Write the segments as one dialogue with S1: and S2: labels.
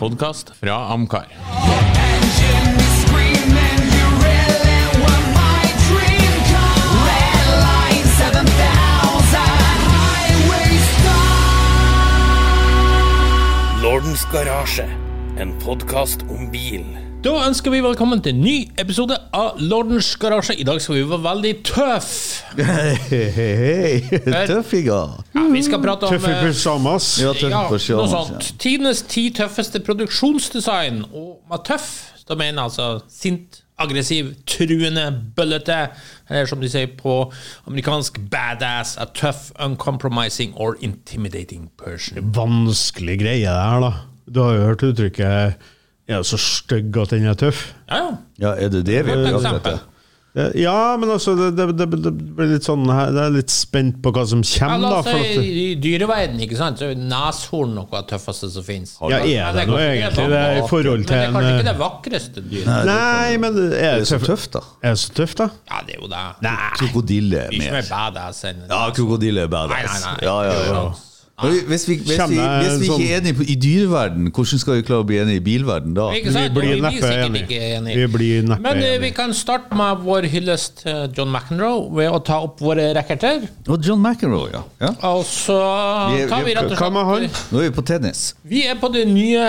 S1: Podkast fra Amcar.
S2: Lordens Garasje, en podkast om bil.
S1: Da ønsker vi velkommen til en ny episode av Lordens garasje. I dag skal vi være veldig tøff.
S3: Hei, hei, hei. Tøffinger.
S1: Ja, vi skal prate om
S4: Tøffe
S1: eh,
S4: pyjamas.
S3: Ja, tøff
S1: ja,
S3: på altså.
S1: noe
S3: sjøen,
S1: sånt. Tidenes ti tøffeste produksjonsdesign. Og med tøff da mener jeg altså sint, aggressiv, truende, bøllete. Eller som de sier på amerikansk badass, a tough, uncompromising or intimidating person.
S4: Vanskelig greie det her, da. Du har jo hørt uttrykket 'er du så stygg at den er tøff'?
S1: Ja, ja.
S3: Ja, er det det vi
S1: Et
S3: har gjort
S1: eksempel.
S3: etter?
S4: Eh, Ja, men altså, det, det, det, det blir litt sånn her Jeg er litt spent på hva som
S1: Ja,
S4: kommer,
S1: la
S4: da.
S1: oss
S4: For at,
S1: si i dyreverden, ikke sant, så er neshorn noe av det tøffeste som finnes.
S4: ja, er det noe egentlig det er i
S1: Men
S4: forhold
S1: det er kanskje
S4: til en
S1: ikke
S4: eh,
S1: det vakreste dyret.
S4: Nei, men er
S3: Det
S4: det
S3: er så
S4: tøff-
S3: tøft, da.
S4: er det så tøft, da?
S1: Ja, det er jo det.
S3: Krokodille er
S1: Ikke mer
S3: med.
S1: badass enn
S3: Ja, krokodille er
S1: Nei, nei,
S3: badass.
S1: nei.
S3: Ja, ja, ja. Men vi- Hvis vi, hvis vi,
S4: Kjenner jeg
S3: hvis vi ikke
S4: sånn-
S3: er enige på- i dyreverden, hvordan skal vi klare å bli enige i bilverden da?
S1: Ikke sant?
S4: Vi blir
S1: Og
S4: neppe
S1: sikkert
S4: enige.
S1: ikke
S4: Vi blir neppe
S1: Men eh, vi
S4: enige.
S1: kan starte med vår hyllest til John McEnroe ved å ta opp våre racketer.
S3: Og John McEnroe, ja. ja.
S1: Og så
S3: Vi er-
S1: tar
S3: vi
S1: vi
S3: er-
S1: rett og
S4: Hva med han?
S1: slett
S3: Nå er vi på tennis.
S1: Vi er på den nye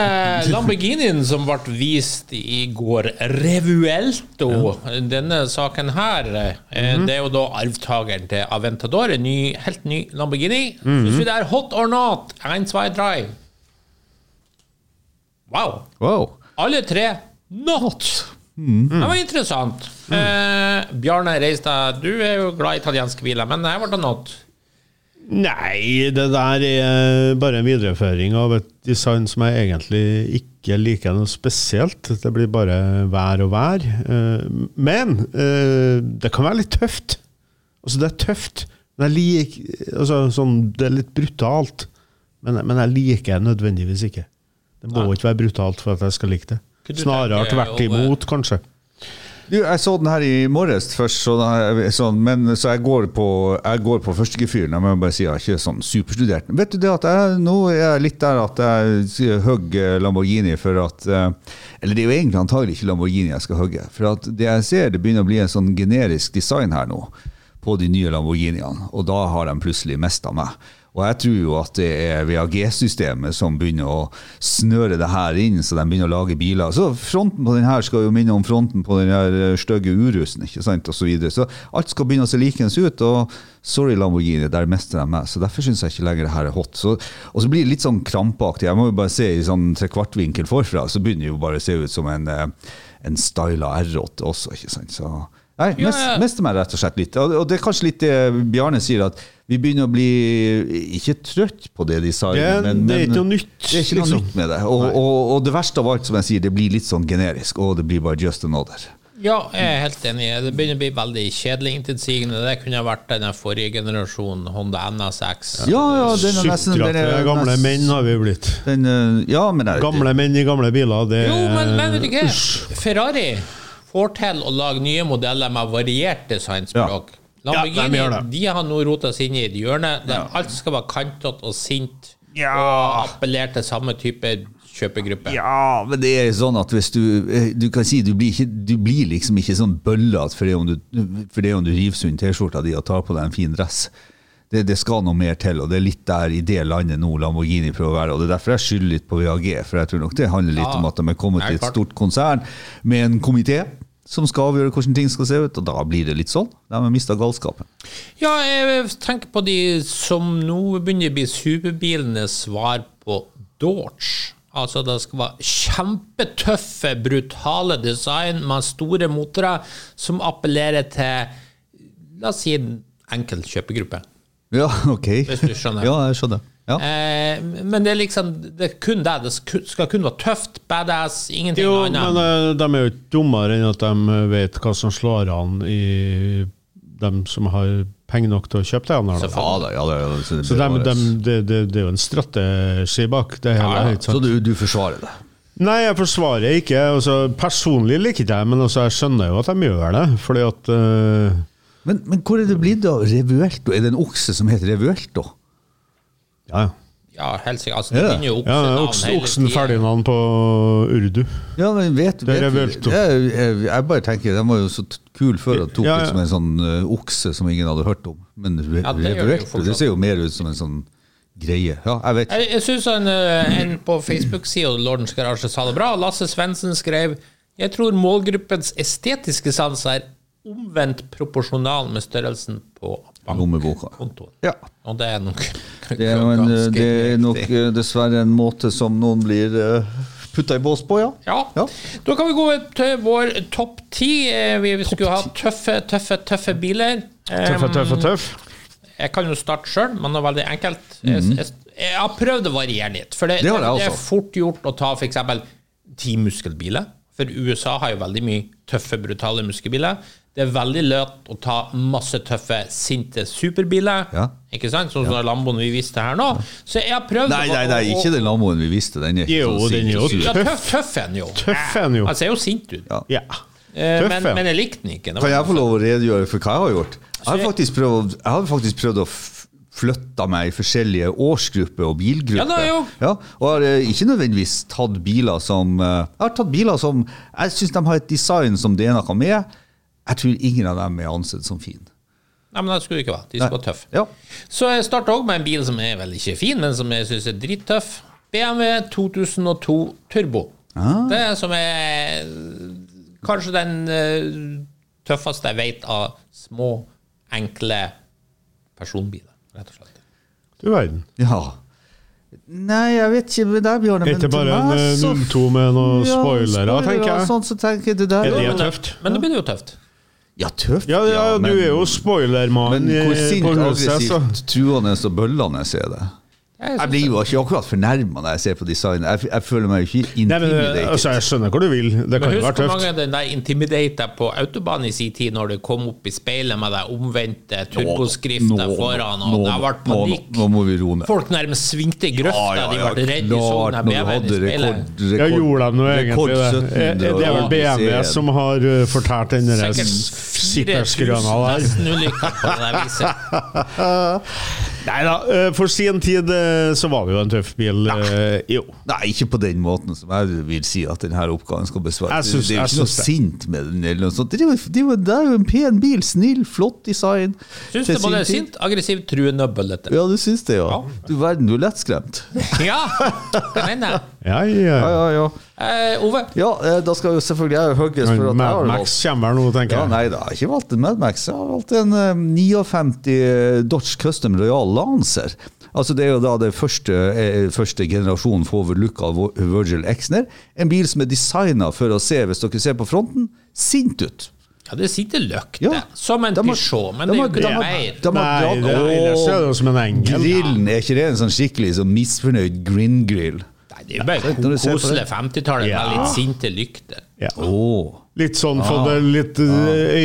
S1: Lamborghinien som ble vist i går. Revuelto. Denne saken her, eh, det er jo da arvtakeren til Aventador. En ny, helt ny Lamborghini. Syns vi det er hot or not? Ein, zwei, drei. Wow.
S3: Wow.
S1: Alle tre not. Det var interessant. Eh, Bjarne Reistad, du er jo glad i italienske biler, men her ble det not.
S4: Nei, det der er bare en videreføring av et design som jeg egentlig ikke liker noe spesielt. Det blir bare vær og vær. Eh, Men eh, det kan være litt tøft. Altså, det er tøft. Men jeg lik, altså, sånn, det er litt brutalt. Men, men jeg liker det nødvendigvis ikke. Det må ikke være brutalt for at jeg skal like det.
S1: Kunne du
S4: Snarere
S1: tenke
S4: tvert
S1: deg å- eh,
S4: imot, kanskje.
S3: Du, jeg så den her i morges først, så, da- sånn, men, så jeg går på, jeg går på førstegefyren. Jeg må bare si jeg er ikke sånn superstudert. Vet du det at jeg, nå er jeg litt der at jeg hogger Lamborghini for at eh, Eller det er jo egentlig antagelig ikke Lamborghini jeg skal hogge. For at det jeg ser, det begynner å bli en sånn generisk design her nå på de nye Lamborghiniene, og da har de plutselig mista meg. Og jeg tror jo at det er VAG-systemet som begynner å snøre det her inn, så de begynner å lage biler. Så fronten på den her skal jo minne om fronten på den her eh, stygge Urusen, ikke sant, og så videre. Så alt skal begynne å se likens ut, og sorry Lamborghini, der mister de meg. Så derfor syns jeg ikke lenger det her er hot. Så, og så blir det litt sånn krampaktig. Jeg må jo bare se i sånn trekvartvinkel forfra, så begynner det jo bare å se ut som en, eh, en styla R8 også, ikke sant. Så Nei,
S1: Ja,
S3: mest,
S1: ja.
S3: mister meg rett og slett litt. Og og det er kanskje litt det Bjarne sier, at vi begynner å bli ikke trøtt på det de sa.
S4: Det er-
S3: men-
S4: det er
S3: men-
S4: ikke noe nytt,
S3: Det er ikke noe
S4: liksom.
S3: nytt med det. Og, og, og det verste av alt, som jeg sier, det blir litt sånn generisk. Og det blir bare just another.
S1: Ja, jeg er helt enig. Det begynner å bli veldig kjedelig intetsigende. Det kunne ha vært denne forrige generasjonen, Honda NSX.
S3: Ja, ja, den er nesten den
S4: Sutrete
S3: er
S4: gamle
S3: nesten-
S4: menn har vi blitt.
S3: Den, eh, ja, men jeg,
S4: Gamle menn i gamle biler, det
S1: Jo, men, men vet du hva?
S4: Usch.
S1: Ferrari får til å lage nye modeller med variert designspråk.
S4: Ja,
S1: Lamborghini
S4: de gjør det.
S1: de har nå rota seg inn i et hjørne der alt skal være kantete og sint og appellere til samme type kjøpegruppe.
S3: Ja, men det er sånn at hvis du eh, Du kan si du blir, ikke, du blir liksom ikke sånn bøllete for det om du, for det om du river sund T-skjorta di og tar på deg en fin dress. Det, det skal noe mer til, og det er litt der i det landet nå Lamborghini prøver å være. og Det er derfor jeg skylder litt på VAG, for jeg tror nok det handler litt
S1: Ja.
S3: om at de er kommet
S1: Nei,
S3: til et
S1: klart.
S3: stort konsern med en komité som skal avgjøre hvordan ting skal se ut, og da blir det litt sånn. De har mista galskapen.
S1: Ja, jeg tenker på de som nå begynner å bli superbilenes svar på Dodge. Altså, det skal være kjempetøffe, brutale design med store motorer som appellerer til, la oss si, en enkel kjøpegruppe.
S3: Ja, ok.
S1: Hvis du skjønner.
S3: Ja, jeg skjønner. Ja.
S1: Eh, men det er liksom det er kun det. Det sku- skal kun være tøft, badass, ingenting
S4: Jo, men
S1: annet.
S4: eh, de er jo ikke dummere enn at de eh, vet hva som slår an i dem som har penger nok til å kjøpe det. Her, da.
S3: Ja da, ja da. ja da, det
S4: Så dem-
S3: bevares.
S4: dem- det, det, det er jo en strategi bak det hele.
S3: ja, ja.
S4: ikke sant?
S3: Så du, du forsvarer det?
S4: Nei, jeg forsvarer ikke. Altså, personlig liker ikke jeg men altså, jeg skjønner jo at de gjør det. Fordi at eh,
S3: Men, men hvor er det blitt av Revuelto? Er det en okse som heter Revuelto?
S4: Ja, ja.
S1: Ja, helsike. Altså,
S3: Er
S1: det
S3: det?
S1: begynner jo
S4: Ja,
S1: oksenavn
S4: Oksen,
S1: hele
S4: Oksen
S1: tiden.
S4: Ferdinand på urdu.
S3: Ja, men vet,
S4: Det er
S3: vet
S4: vel to.
S3: jeg, jeg, jeg bare tenker, den var jo så t- kul før at tok
S4: Ja, ja.
S3: ut som en sånn eh, okse som ingen hadde hørt om. Men re,
S1: Ja, det gjør det jo
S3: Reverecto, det
S1: fortsatt.
S3: ser jo mer ut som en sånn greie. Ja, jeg vet.
S1: Jeg, jeg syns en, eh, en på Facebook-sida Lordens Garasje altså sa det bra. Lasse Svendsen skrev Jeg tror målgruppens estetiske sans er omvendt proporsjonal med størrelsen på
S3: Lommeboka.
S1: bankkontoen.
S3: Ja.
S1: Og det er nok
S3: Det er, jo en, eh, det er nok eh, dessverre en måte som noen blir putta i bås på, ja.
S1: ja.
S3: Ja.
S1: Da kan vi gå til vår topp ti. Eh, Vi skulle ha tøffe, tøffe, tøffe biler. Eh,
S4: Tøff og tøff og tøff.
S1: Jeg kan jo starte sjøl, men det er veldig enkelt. jeg, jeg, jeg har prøvd å variere litt. For det,
S3: Mhm. Det
S1: det,
S3: har jeg
S1: er
S3: også.
S1: fort gjort å ta f.eks. ti muskelbiler. For USA har jo veldig mye tøffe, brutale muskelbiler. Det er veldig lett å ta masse tøffe, sinte superbiler.
S3: Ja.
S1: Ikke sant? Sånn som Lamboen vi viste her nå. Så jeg har prøvd
S3: Nei, nei, nei,
S1: å- å-
S3: ikke den lammoen vi viste. Den er
S4: Jo,
S3: sånn
S4: den er
S3: sinnssykt
S4: jo
S1: Ja,
S3: sur.
S1: tøff, tøff er den jo.
S4: Tøff er den jo.
S1: Han ser jo sint ut.
S3: Ja.
S4: Ja.
S1: Eh,
S4: Tøff,
S1: men,
S4: ja.
S1: men jeg likte den ikke. Det var-
S3: Kan jeg få lov å redegjøre for hva jeg har gjort? Jeg har
S1: jeg-
S3: faktisk prøvd, jeg har faktisk prøvd å f- flytte meg i forskjellige årsgrupper og bilgrupper.
S1: Ja, det har jeg jo.
S3: Ja, og har eh, ikke nødvendigvis tatt biler som eh, Jeg har tatt biler som Jeg syns de har et design som det er noe med. Jeg tror ingen av dem er ansett som fin.
S1: Nei, men det skulle det ikke være. De skulle være tøffe.
S3: Ja.
S1: Så jeg starta òg med en bil som er vel ikke fin, men som jeg syns er drittøff. BMW 2002 Turbo.
S3: Ah.
S1: Det er som er kanskje den eh, tøffeste jeg vet av små, enkle personbiler, rett og slett.
S4: Du verden.
S3: ja. Nei, jeg vet ikke med deg, Bjarne.
S4: Ikke bare
S3: til
S4: en
S3: meg,
S4: eh,
S3: så-
S4: 02 med noen
S3: Ja,
S4: spoilere,
S3: spoilere
S4: tenker
S3: og
S4: jeg.
S3: Sånn, så tenker jeg det der.
S4: Er det
S3: Ja,
S1: Men,
S4: tøft.
S1: men det blir jo tøft.
S3: ja, tøft.
S4: Ja, ja, du er jo spoilermann
S3: Men eh,
S4: i- altså.
S3: hvor sint,
S4: eh, på huset, så
S3: aggressivt, truende og bøllende er det?
S1: Jeg
S3: Jeg
S1: synes
S3: blir jo ikke akkurat fornærma når jeg ser på design. Jeg, f- jeg føler meg jo ikke
S4: Nei, men eh,
S3: intimidated.
S4: altså, jeg skjønner hvor du vil. Det
S1: Men
S4: kan jo
S1: husk hvor
S4: være tøft.
S1: mange den der intimidata på autobahn i sin tid, når det kom opp i speilet med den omvendte
S3: Nå-
S1: turboskrifta
S3: nå-
S1: foran,
S3: nå-
S1: og det ble
S3: nå-
S1: panikk.
S3: Nå, nå må vi roe ned.
S1: Folk nærmest svingte i grøfta, de ble redde sånn de så den her
S3: klart, når du
S1: BMW-en i
S3: hadde
S1: speilet.
S3: rekord, rekord,
S4: Ja, gjorde de nå
S3: rekord
S4: egentlig det?
S3: 1700
S4: Eh, Det er vel
S3: og
S4: BMW
S3: 91.
S4: som har eh, fortært den der
S1: Sikkert
S4: sikkerhetsgrøna
S1: 4000
S4: der.
S1: nesten-ulykker på det der viset.
S4: Nei da, eh, for sin tid eh, så var det jo en tøff bil. eh, Jo.
S3: Nei, ikke på den måten som jeg vil si at denne oppgaven skal besvares.
S4: Jeg syns-
S3: det er jo
S4: jeg
S3: ikke noe
S4: syns det.
S3: sint med den. eller noe sånt. Det er jo- det er jo- det er jo en pen bil. Snill, flott design.
S1: Syns
S3: Til
S1: det både er
S3: sin tid.
S1: sint, aggressiv, truende og bøllete.
S3: Ja, du syns det, ja. Du verden, du er lettskremt.
S1: Ja, det mener jeg.
S4: Ja, ja.
S3: Ja, ja, ja.
S1: Eh, Ove,
S3: Ja, eh, da skal jo selvfølgelig jeg hugges for at jeg har
S4: Mad Max
S3: valgt
S4: kommer nå, tenker
S3: ja,
S4: jeg.
S3: Nei, da, jeg har ikke valgt en Mad Max. Jeg har valgt en eh, 59 Dodge Custom Royal Lancer. Altså Det er jo da det første, eh, første generasjonen forward-look av Vo- Virgil Exner. En bil som er designa for å se, hvis dere ser på fronten, sint ut.
S1: ja, det sitter løkt
S3: Ja.
S1: der. Som en
S3: De har-
S1: Peugeot, men
S3: de
S1: det er
S3: har-
S1: jo ikke
S3: de
S1: det
S3: har-
S1: mer.
S3: de har
S4: Nei,
S3: dratt-
S4: det,
S3: Åh,
S4: ellers er det jo som en engel.
S3: Grillen, er ikke det en sånn skikkelig sånn misfornøyd grind-grill?
S1: Nei, det er jo bare
S3: Når du ser på
S1: koselig
S3: det.
S1: 50-tallet med
S4: Ja.
S1: litt sinte lykter.
S4: Ja.
S3: Åh.
S4: Litt sånn
S1: Ah.
S4: for det litt eh,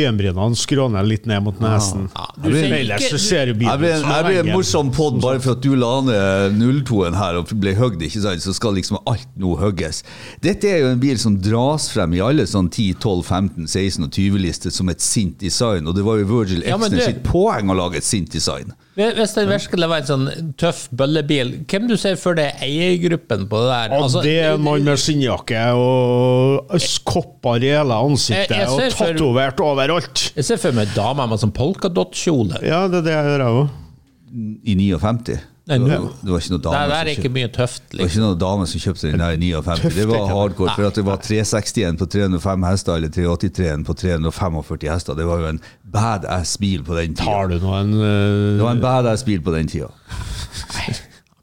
S4: Øyenbrynene skråner litt ned mot nesen.
S1: Ja, Ah. du
S4: Men
S1: ser
S4: Ellers
S1: ikke-
S4: så ser du
S3: Jeg
S4: bilen
S3: ble,
S4: ut som
S3: jeg
S4: en
S3: ble en
S4: engel.
S3: morsom pod bare for at du la ned 02-en her og ble høgd, ikke sant? Så skal liksom alt nå høgges. Dette er jo en bil som dras frem i alle sånn 10, 12, 15, 16 og 20-lister som et sint design, og det var jo Virgil
S1: Ja, men
S3: Exner
S1: det-
S3: sitt poeng å lage et sint design.
S1: Hvis det virkelig var en sånn tøff bøllebil, hvem du ser for deg eiergruppen på det der?
S4: Og
S1: Altså,
S4: det er en mann med skinnjakke og kopper i hele
S1: Jeg-
S4: ansiktet
S1: jeg
S4: og
S1: ser for-
S4: tatovert overalt.
S1: Jeg ser for meg damer med sånn polkadottkjole.
S4: Ja, det er det jeg gjør, jeg òg.
S3: I 59.
S1: Nei,
S3: det,
S1: nå-
S3: var, det var ikke noe
S1: Det
S3: dame
S1: der er
S3: som
S1: ikke
S3: kjøpte
S1: mye tøft.
S3: det var
S1: Liksom.
S3: ikke noen dame som kjøpte den der i 59. Det var
S4: ikke?
S3: hardcore, for at det var 361 på 305 hester, eller 381 på 345 hester. Det var jo en badass bil på den tida.
S4: Har du nå en eh,
S3: Det var en badass bil på den tida.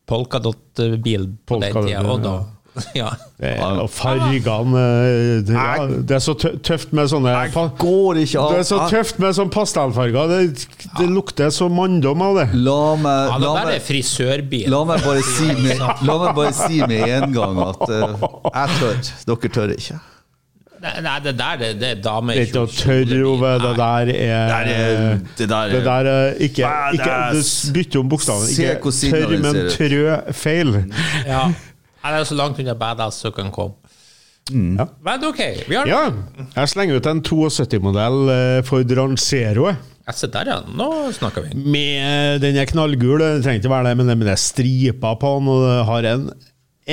S1: Polkadott-bil på den
S4: Polkadott,
S1: tida. Og da. Ja.
S4: eh,
S1: Ah.
S4: Og fargene eh, det, ja, det er så tø- tøft med sånne fa-
S3: går ikke an. Ah.
S4: Det er så tøft med sånn pastellfarger. Det, det lukter så manndom av det.
S3: La meg,
S1: ja, det
S3: la,
S1: der er
S3: meg,
S1: frisørbil.
S3: la meg bare si med, la meg bare si med en gang at eh, jeg tør. Dere tør ikke.
S1: Nei, nei, det der det, det er
S4: Det er ikke å
S1: damekjolebil.
S4: tørre, Ove. Det der
S3: Det
S4: er
S3: er- det der er-
S4: Det der er ikke, ikke Du
S3: Badass.
S4: bytter om bokstavene.
S3: Se hvor
S4: Ikke
S3: sinna
S4: tørr,
S3: den
S4: men
S3: ser ut.
S4: trø feil.
S1: Ja. Nei, det er så langt unna badass som kan komme.
S3: Mm.
S4: Ja.
S1: Men OK, vi har
S4: eh, Ja, jeg slenger ut en 72-modell for Rangeroet.
S1: Jeg ser der, ja. Nå snakker vi.
S4: Med eh, den er knallgul, det trenger ikke være det, men det- men det er striper på den, og det har en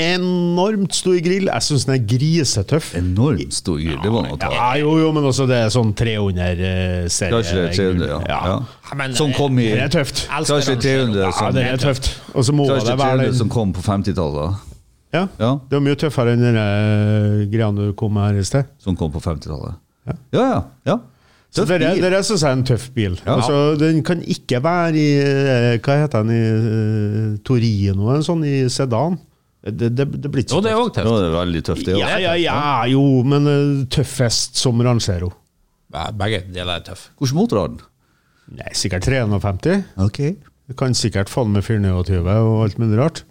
S4: enormt stor grill. Jeg syns den er grisetøff.
S3: Enormt stor grill. Det var noe å ta.
S4: Ja, jo, jo, men også det er sånn 300
S3: Chrysler 300, ja.
S4: serie.
S3: ja.
S1: Ja, men, eh,
S3: Som kom i
S4: Det er tøft.
S1: Elsker
S3: Chrysler
S1: den.
S3: 300
S4: Ja,
S3: som,
S4: det er tøft. Og så må det
S3: Chrysler
S4: være
S3: 300
S4: den
S3: som kom på 50-tallet.
S4: Ja.
S3: Ja.
S4: Det var mye tøffere enn den eh, greia du kom med her i sted.
S3: Som kom på 50-tallet. Ja, ja. ja.
S4: Så
S3: Tøff
S4: dere,
S3: bil.
S4: dere syns jeg er en tøff bil. Altså, den kan ikke være i eh, Hva heter den i eh, Torino? En sånn i sedan? Det, det, det blir ikke
S1: Jo,
S4: så
S1: det er
S4: tøft.
S1: òg
S3: Det
S1: tøft.
S3: var veldig tøft, det òg.
S4: Ja, ja, ja, jo, men eh, tøffest som Rangero.
S1: Ja, Begge deler er tøffe.
S3: Hvilken motor har den?
S4: Nei, sikkert 351.
S3: Ok.
S4: Du kan sikkert falle med 429 og alt mulig rart.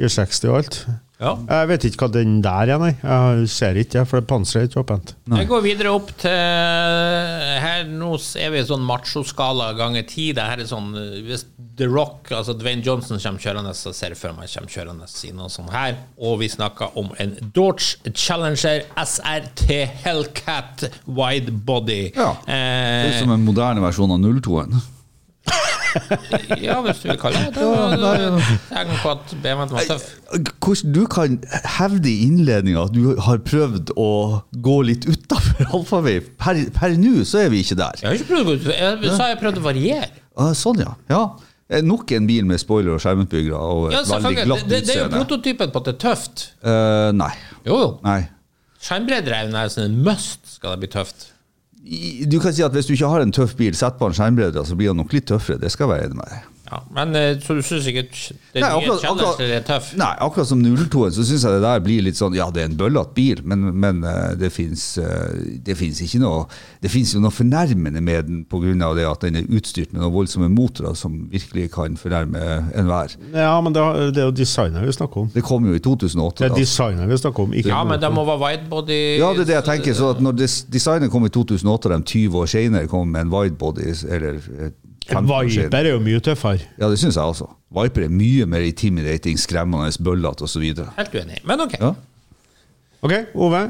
S4: 460 og alt.
S1: Ja.
S4: Jeg vet ikke hva den der er, nei. Jeg ser ikke, jeg, for det panseret er ikke åpent.
S1: Jeg går videre opp til Her nå er vi i sånn machoskala ganger ti. Det her er sånn eh, Hvis The Rock, altså Dwayne Johnson, kommer kjørende, så ser jeg for meg kommer kjørende i noe sånt her. Og vi snakker om en Dodge Challenger SRT Hellcat Wide Body.
S3: Ja. Det er
S1: Eh,
S3: som en moderne versjon av 02-en.
S1: ja, hvis du vil kalle det det. Jeg kan på at BMW-en var tøff.
S3: Hvordan du kan hevde i innledninga at du har prøvd å gå litt utafor allfarvei. Per, per nå så er vi ikke der.
S1: Jeg har ikke prøvd å gå ut. Jeg sa jeg prøvde å variere.
S3: Ah, sånn, ja. ja. Eh, Nok en bil med spoiler og skjermutbyggere og et
S1: Ja,
S3: veldig
S1: selvfølgelig. Det,
S3: glatt
S1: det er jo
S3: utseende.
S1: prototypen på at det er tøft.
S3: Eh, nei.
S1: Jo, jo.
S3: nei.
S1: Skjermbredder er jo nesten en must, skal det bli tøft.
S3: I- Du kan si at hvis du ikke har en tøff bil, sett på en skjermbredder, så blir den nok litt tøffere. Det skal jeg være enig med deg.
S1: Ja, men eh, Så du syns ikke det
S3: Nei,
S1: nye
S3: akkurat- akkurat-
S1: Challenger er tøff?
S3: Nei, akkurat som 02-en, så syns jeg det der blir litt sånn Ja, det er en bøllete bil, men, men eh, det fins ikke noe Det fins jo noe fornærmende med den pga. det at den er utstyrt med noen voldsomme motorer som virkelig kan fornærme enhver.
S4: Ja, men det, det er jo designet vi snakker om.
S3: Det kom jo i 2008.
S4: Det er
S3: da.
S4: designet vi snakker om, ikke
S1: Ja, men
S4: motor.
S1: de må være widebody
S3: Ja, det er det jeg tenker. Så at når des designet kom i 2008, og de 20 år senere kom med en widebody eller eh, 15 år senere.
S4: Viper er jo mye tøffere.
S3: Ja, det syns jeg altså. Viper er mye mer intimidating, skremmende, bøllete osv.
S1: Helt uenig. Men OK.
S3: Ja.
S4: OK, Ove.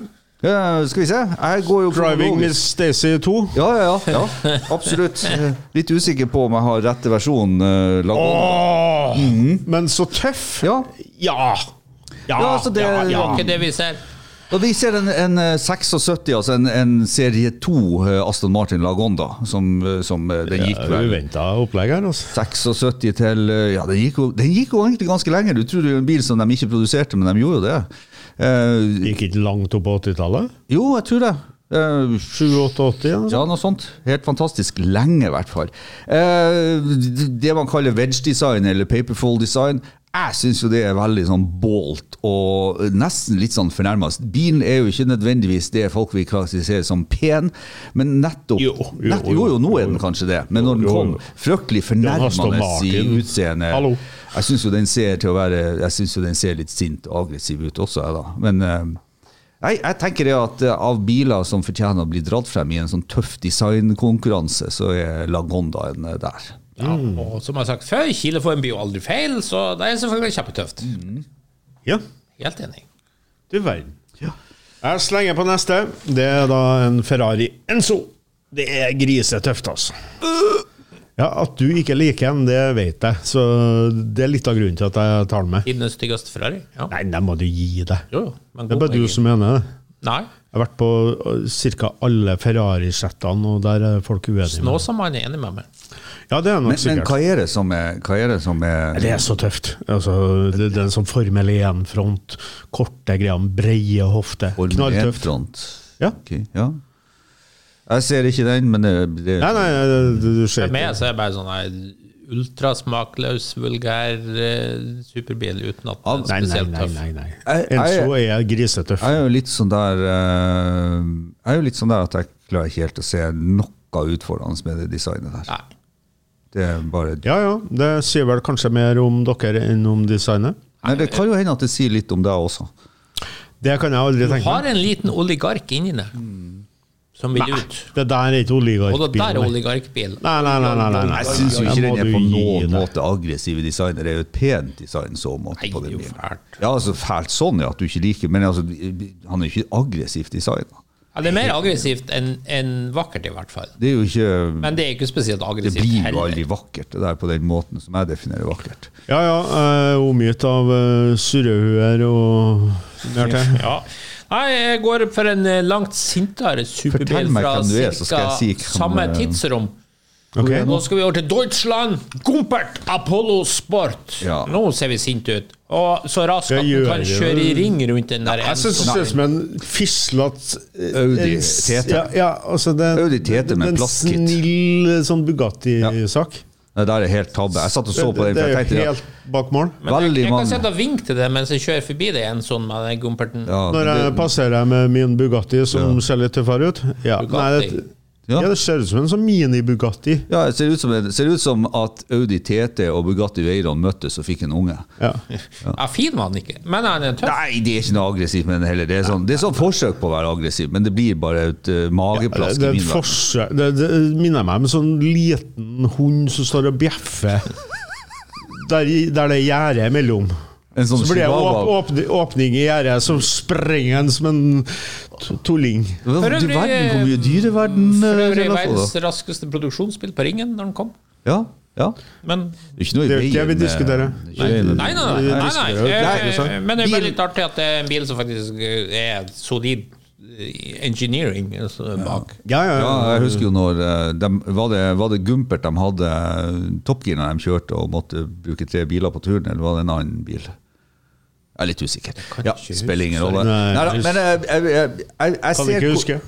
S3: Ja, skal vi se. Jeg går jo
S4: Driving
S3: kronologisk.
S4: Miss Stacey 2.
S3: Ja, ja, ja. ja absolutt. Eh, Litt usikker på om jeg har rette versjon. eh, lagd om.
S4: Åh, Men så tøff!
S3: Mm. Ja.
S4: Ja! Ja,
S3: Ja, altså, det-
S4: ja,
S1: Det
S4: ja.
S1: var ikke det vi ser.
S3: Og vi ser en, en eh, 76, altså en, en serie 2 eh, Aston Martin Lagonda, som, eh, som eh, den gikk vel
S4: Uventa opplegg her, altså.
S3: 76 til eh, Ja, den gikk, jo, den gikk jo egentlig ganske lenge. Du tror det er en bil som de ikke produserte, men de gjorde jo det. Eh,
S4: Gikk ikke langt opp på 80-tallet?
S3: jo, jeg tror det. Eh,
S4: 87-80? eller noe sånt.
S3: ja, noe sånt. Helt fantastisk. Lenge, i hvert fall. Eh, det man kaller wedge design eller paperfold design, jeg syns jo det er veldig sånn bolt og nesten litt sånn fornærma. Bilen er jo ikke nødvendigvis det folk vil klassifisere som pen, men nettopp
S4: Jo, jo,
S3: nett, jo, jo, nå er den kanskje det, men når den
S4: jo,
S3: kom
S4: jo.
S3: fryktelig
S4: Aston
S3: fornærmende i
S4: Martin.
S3: utseende
S4: Hallo.
S3: Jeg syns jo den ser til å være Jeg synes jo den ser litt sint og aggressiv ut også, jeg, da. Men eh, nei, jeg tenker det at eh, av biler som fortjener å bli dratt frem i en sånn tøff designkonkurranse, så er Lagondaen eh, der.
S1: Ja, og som jeg har sagt før, Kile får en by og aldri feil, så det er selvfølgelig kjempetøft.
S4: Ja.
S1: Helt enig.
S4: Du verden. Jeg slenger på neste. Det er da en Ferrari Enzo. Det er grisetøft, altså. Ja, At du ikke liker den, det vet jeg. Så det er litt av grunnen til at jeg tar den med.
S1: Tidenes styggeste Ferrari? Ja.
S4: Nei, den må du gi deg.
S1: Jo, jo. Men
S4: Det er
S1: god
S4: bare du
S1: bil.
S4: som mener det.
S1: Nei.
S4: Jeg har vært på ca. alle Ferrari-settene, og der er folk uenige. med
S1: Nå som han er enig med meg.
S4: meg. Ja, det er nok
S3: Men, men
S4: sikkert.
S3: hva er det som er, hva er, det som er
S4: Det er så tøft. Altså, det, det er en sånn Formel 1-front. Korte greier, breie hofter.
S3: Formel
S4: Knalltøft.
S3: 1-front?
S4: Ja.
S3: Ok, ja. Jeg ser ikke den, men det, det
S4: Nei, nei, det- det- du ser
S1: For meg
S4: ikke.
S1: så er det bare sånn her ultrasmakløs, vulgær eh, superbil uten at den er
S4: Nei, nei,
S1: spesielt
S4: nei.
S1: tøff.
S4: nei, nei.
S3: Jeg-
S4: Enzo er grisetøff.
S3: Jeg er jo litt sånn der eh, Jeg er jo litt sånn der at jeg klarer ikke helt å se noe utfordrende med det designet der.
S1: Nei.
S3: Det er bare
S4: Ja ja, det sier vel kanskje mer om dere enn om designet.
S3: Nei, Det kan jo hende at det sier litt om deg også.
S4: Det kan jeg aldri tenke
S1: har
S4: meg.
S1: en liten oligark inni deg som vil ut.
S4: Det der er ikke
S1: Og det der er
S4: oligarkbil.
S1: oligarkbil.
S4: Nei, nei, nei. nei, nei, nei.
S3: Jeg syns jo ikke
S4: må
S3: den er
S4: du
S3: på
S4: gi
S3: noen
S4: deg.
S3: måte aggressiv i design. Det er jo et pent design så måte
S1: Nei,
S3: på
S1: det
S3: den
S1: er jo
S3: bilen.
S1: fælt.
S3: Ja, altså fælt sånn ja, at du ikke liker, men altså, han er jo ikke aggressivt designa.
S1: Ja, det er mer aggressivt enn enn vakkert, i hvert fall.
S3: Det er jo ikke
S1: Men det er ikke spesielt
S3: Det
S1: aggressivt
S3: blir jo
S1: heller.
S3: aldri vakkert, det der på den måten som jeg definerer vakkert.
S4: Ja, ja. eh, Omgitt av eh, surrehuer og mer til.
S1: Ja. Nei, jeg går for en eh, langt sintere superbil
S3: Fortell meg
S1: fra
S3: hvem du er, så skal
S1: ca.
S3: jeg si hvem,
S1: samme
S3: eh,
S1: tidsrom.
S4: Ok.
S1: Nå skal vi over til Deutschland. Gumpert Apollo Sport.
S3: Ja.
S1: Nå ser vi sinte ut. Og så raskt
S4: Jeg
S1: at du
S4: gjør
S1: kan
S4: det.
S1: kjøre i ring rundt den der.
S4: Jeg syns det ser ut som en fislete eh,
S3: Audi TT.
S4: Ja, ja, altså det,
S3: Audi TT med
S4: en
S3: plastkit.
S4: snill eh, sånn Bugatti-sak.
S3: Det der er helt tabbe. Jeg satt og så på
S4: Det,
S3: den,
S4: det
S3: for
S4: er
S3: jeg
S4: jo
S3: tenkte at
S4: helt bak mål.
S3: veldig
S1: Jeg kan
S3: mange
S1: sitte og vinke til det mens jeg kjører forbi det igjen sånn med den gumperten.
S3: ja,
S4: Når jeg
S3: det-
S4: passerer med min Bugatti, som ser litt tøffere ut ja. Nei,
S1: Bugatti.
S4: det,
S3: Ja.
S4: ja, det ser ut som en sånn mini-Bugatti.
S3: ja, det ser ut, som, det ser ut som at Audi TT og Bugatti Veyron møttes og fikk en unge.
S4: Ja.
S1: Ja, fin var han ikke, men han er tøff.
S3: Nei, det er ikke noe aggressivt med den heller. Det er sånn, det er sånn forsøk på å være aggressiv, men det blir bare et eh,
S4: Det,
S3: mageplask
S4: det,
S3: i
S4: er
S3: min
S4: et
S3: verden.
S4: forsøk- det, det minner meg om en sånn liten hund som står og bjeffer der, i- der det er gjerde imellom.
S3: En sånn
S4: Så blir det åp,
S3: chihuahua.
S4: åpne- åpning i gjerdet, så sprenger den som en to- tulling.
S3: Du
S1: For øvrig,
S3: sånn verden hvor mye dyreverden eh,
S1: For øvrig
S3: relasjon, da.
S1: verdens raskeste produksjonsbil på ringen når den kom.
S3: Ja, ja.
S1: Men
S3: Det er ikke noe i
S4: Det er jo ikke det vi
S3: veien med-
S4: diskuterer.
S3: Det er ikke i veien med-
S1: Nei, nei, nei. nei, nei.
S4: Nei,
S1: Eh,
S4: sant.
S1: Men det er bare
S3: Bil-
S1: litt artig at det er en bil som faktisk eh, er solid eh, engineering altså, bak.
S4: Ja, ja,
S3: Ja,
S4: ja.
S3: jeg husker jo når eh, de, var, det, var det Gumpert de hadde eh, Top Gear når de kjørte og måtte bruke tre biler på turen, eller var det en annen bil? Jeg er litt usikker. Ja, spiller ingen rolle.
S4: Nei,
S3: Neida,
S4: jeg-
S3: men eh, jeg, jeg, jeg, jeg, jeg
S4: Kan
S3: ser
S4: ikke
S3: hvor-
S4: huske.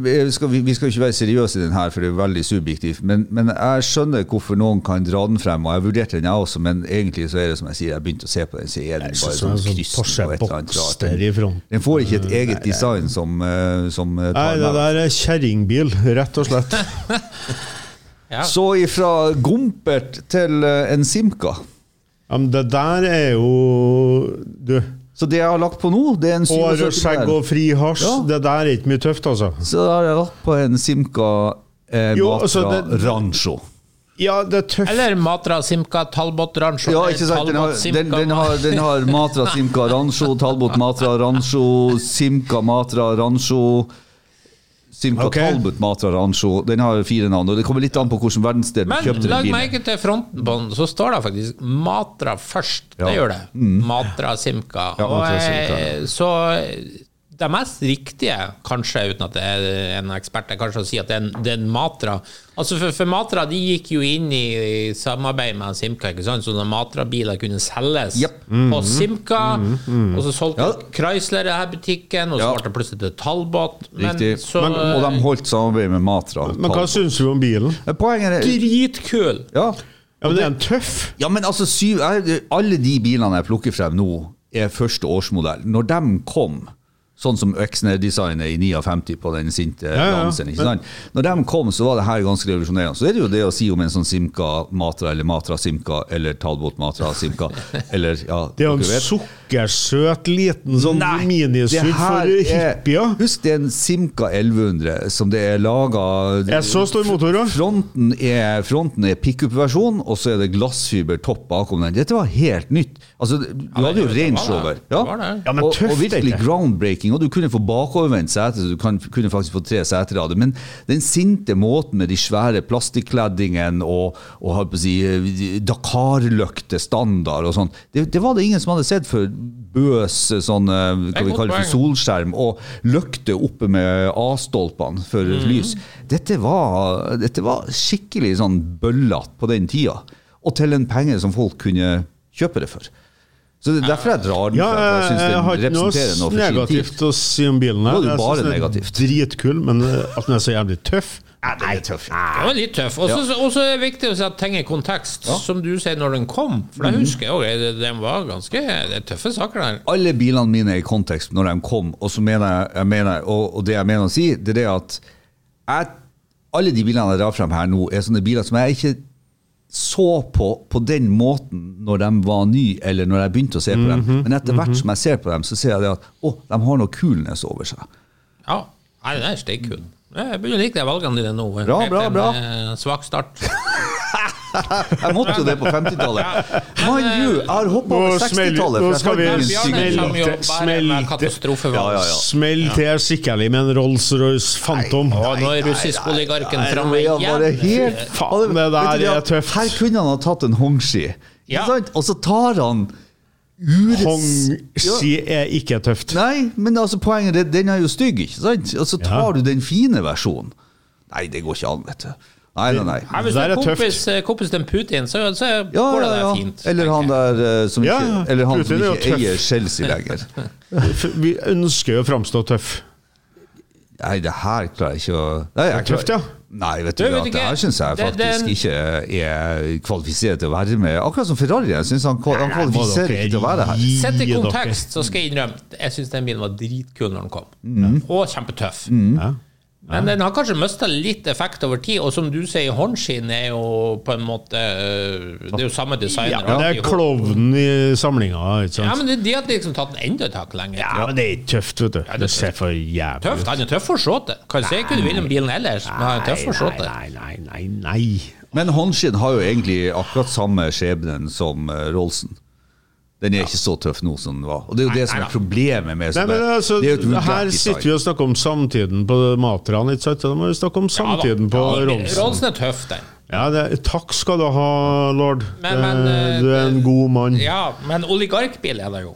S3: Vi skal, vi, vi skal jo ikke være seriøse i den her, for det er veldig subjektivt. Men, men jeg skjønner hvorfor noen kan dra den frem, og jeg vurderte den jeg også, men egentlig så er det som jeg sier, jeg begynte å se på den, så er
S4: Jeg
S3: den bare
S4: synes det er
S3: sånn
S4: en sånn
S3: kryssen på et eller annet rart.
S4: Porsche-Boxster i front.
S3: Den får ikke et eget design som, eh, som eh,
S4: Nei,
S3: tar
S4: det
S3: meg.
S4: der er kjerringbil, rett og slett.
S1: Ja.
S3: Så ifra Gompert til eh, en Simca.
S4: Ja, men det der er jo Du,
S3: Så det jeg har lagt på nå, det er en
S4: hår og
S3: 47
S4: skjegg
S3: der.
S4: og fri hasj,
S3: Ja.
S4: det der er ikke mye tøft, altså.
S3: Så da har jeg lagt på en Simca eh,
S4: Jo,
S3: Matra
S4: altså, det-
S3: Rancho.
S4: Ja, det er tøft.
S1: Eller Matra Simca Talbot Rancho.
S3: Ja, ikke sant? Den har, den, den har, den har Matra Simca Rancho, Talbot Matra Rancho, Simca Matra Rancho Simca
S4: Ok.
S3: Talbot Matra Rancho. Den har fire navn. Og det kommer litt an på hvilken verdensdel du
S1: Men
S3: kjøpte den
S1: lag
S3: bilen.
S1: merke til fronten på den, så står det faktisk Matra først. Det gjør det. Matra Simca.
S3: Mm. Ja,
S1: Og,
S3: Matra Simca,
S1: eh, så eh, det mest riktige, kanskje uten at jeg er en ekspert, er kanskje å si at det er en, det er en Matra. Altså for, for Matra de gikk jo inn i, i samarbeid med Simca, ikke sant? så når Matra-biler kunne selges
S3: Jep. Mm.
S1: på Simca, og så solgte
S3: Ja.
S1: Chrysler denne butikken, og så
S3: Ja.
S1: ble det plutselig til Talbot. Men
S3: Riktig.
S1: så eh,
S3: og de holdt samarbeid med Matra.
S4: Men hva
S3: Talbot. Eh,
S4: syns du om bilen?
S3: Poenget er
S1: eh, Dritkul!
S3: ja.
S4: Ja, men det er en tøff.
S3: Ja, men altså, syv, jeg, alle de bilene jeg plukker frem nå, er første årsmodell. Når de kom, sånn som Øxner-designet i 59 på den sinte
S4: ja, ja.
S3: Lanceren, ikke sant? Når de kom, så var det her ganske revolusjonerende. Så er det jo det å si om en sånn Simca Matra eller Matra Simca eller Talbot Matra Simca eller ja,
S4: Det er jo en
S3: dere vet.
S4: sukkersøt liten sånn
S3: Nei, det
S4: minisurr
S3: her
S4: for
S3: er-
S4: hippier.
S3: Husk, det er en Simca 1100 som det er laga
S4: Jeg så stor motor òg.
S3: Fronten er, fronten er pickup-versjon, og så er det glassfibertopp bakom den. Dette var helt nytt. Altså, du hadde jo
S1: det
S3: Range
S1: var
S3: Rover.
S1: det. Det var det.
S4: Ja, men
S3: og, og
S4: tøft,
S3: virkelig
S4: ikke?
S3: groundbreaking. Og du kunne få bakovervendt sete, så du kan, kunne faktisk få tre seter av det. Men den sinte måten med de svære plastikkleddingene og, og holdt på å si, eh, Dakar-løkte standard og sånn, det, det var det ingen som hadde sett før. Bøs sånn, eh, hva
S1: er
S3: vi
S1: godt
S3: kaller for
S1: poeng.
S3: sol solskjerm og løkte oppe med A-stolpene for
S1: Mm.
S3: lys. Dette var, dette var skikkelig sånn bøllete på den tida, og til en penge som folk kunne kjøpe det for. Så det er derfor jeg drar den
S4: Ja,
S3: frem, for jeg
S4: jeg,
S3: syns
S4: jeg
S3: den
S4: har ikke
S3: representerer
S4: noe
S3: noe for sin tid.
S4: negativt å si om bilen. her.
S3: Nå er det
S4: Jeg
S3: bare
S4: synes den er
S3: negativt.
S4: Dritkul, men eh, at den er så jævlig tøff
S3: Nei, den er tøff.
S1: Den var litt tøff. Og så og så er det viktig å si at ting er kontekst, som du sier når den kom. For
S3: Mhm.
S1: jeg husker jo, det- den var ganske Det er tøffe saker der.
S3: Alle bilene mine er i kontekst når de kom, og, så mener jeg, jeg mener, og, og det jeg mener å si, det er det at jeg, alle de bilene jeg drar frem her nå, er sånne biler som jeg ikke så på på den måten når de var nye, eller når jeg begynte å se på dem.
S4: Mhm.
S3: Men etter hvert som jeg ser på dem, så ser jeg det at å, de har noe coolness over seg.
S1: Ja. Nei, den er steikkul. Jeg begynner å like de valgene dine nå. eh.
S3: Bra,
S1: Helt
S3: bra,
S1: en,
S3: bra.
S1: eh, Svak start.
S3: Jeg måtte jo det på 50-tallet. Mind you, jeg har hoppa
S4: Nå
S3: over
S4: smeller-
S3: 60-tallet.
S4: nå
S3: for jeg
S4: skal
S3: har
S4: vi
S3: ikke en
S1: Bjarne
S3: syk-
S1: kommer jo
S4: smelte,
S1: bare med
S4: smelte.
S3: Ja, ja,
S1: katastrofevalg.
S3: ja.
S4: Smell til skikkelig med en Rolls-Royce Phantom.
S1: Og nå er russisk-oligarken framme
S3: Ja, bare
S1: igjen.
S3: helt
S4: Faen, det der
S3: Vet du
S4: er
S3: at
S4: tøft.
S3: Her kunne han ha tatt en hongshi.
S1: Ja.
S3: Ikke sant? Og så tar han urets Ja.
S4: Hong-si er ikke tøft.
S3: Nei, men altså poenget er at den er jo stygg, ikke sant? Og så tar du den fine versjonen. Nei, det går ikke an, vet du. Nei, nei, nei.
S1: Ja, hvis du
S4: Der
S1: er
S4: er tøft.
S1: kompis, eh, kompis til Putin, så, så går det
S3: Ja, ja,
S1: der
S3: ja.
S1: fint.
S3: Eller han der eh, som
S4: Ja,
S3: ikke, eller han som
S4: Putin er jo
S3: ikke
S4: tøff.
S3: eier Chelsea lenger.
S4: F- Vi ønsker jo å framstå tøff.
S3: Nei, det her klarer jeg ikke å Nei, jeg
S4: Det er tøft, ja.
S3: Nei, vet du,
S1: Du,
S3: det,
S1: vet
S3: at
S1: du
S3: det
S1: ikke,
S3: her syns jeg
S1: det-
S3: faktisk
S1: den-
S3: ikke er kvalifisert til å være med. Akkurat som Ferrari. Jeg syns han, kval- han kvalifiserer ikke til å være her.
S1: Sett i kontekst, så skal jeg innrømme jeg syns den bilen var dritkul når den kom. Og kjempetøff.
S4: Mm. Ja.
S1: Men den har kanskje mista litt effekt over tid, og som du sier, håndskinn er jo på en måte øh, Det er jo samme designer.
S4: Ja, det er
S1: alltid.
S4: klovnen i samlinga. Ikke sant?
S1: Ja, men det- de har liksom tatt den enda et hakk lenger.
S4: Ja, men det er ikke tøft, vet du. det, ser for jævlig
S1: Tøft, Han er tøff for såte. Kan si ikke du vil om bilen ellers, men han er tøff for såte.
S4: Nei, nei, nei, nei.
S3: Men Honshin har jo egentlig akkurat samme skjebnen som eh, Rolsen. Den er ikke så tøff nå som den var. Og det er jo det som
S1: nei,
S3: er problemet
S4: nei
S3: med sånne-
S4: men altså,
S3: det er jo et vulgært
S4: her
S3: design.
S4: sitter vi og snakker om samtiden på materne, ikke sant? Så Da må vi snakke om
S1: Ja da.
S4: samtiden på
S1: Ja,
S4: Rolls.
S1: er tøff, den.
S4: Ja, det, takk skal du ha, lord.
S1: Men- men,
S4: Eh, du er en
S1: eh,
S4: god mann.
S1: Ja, men oligarkbil er det jo.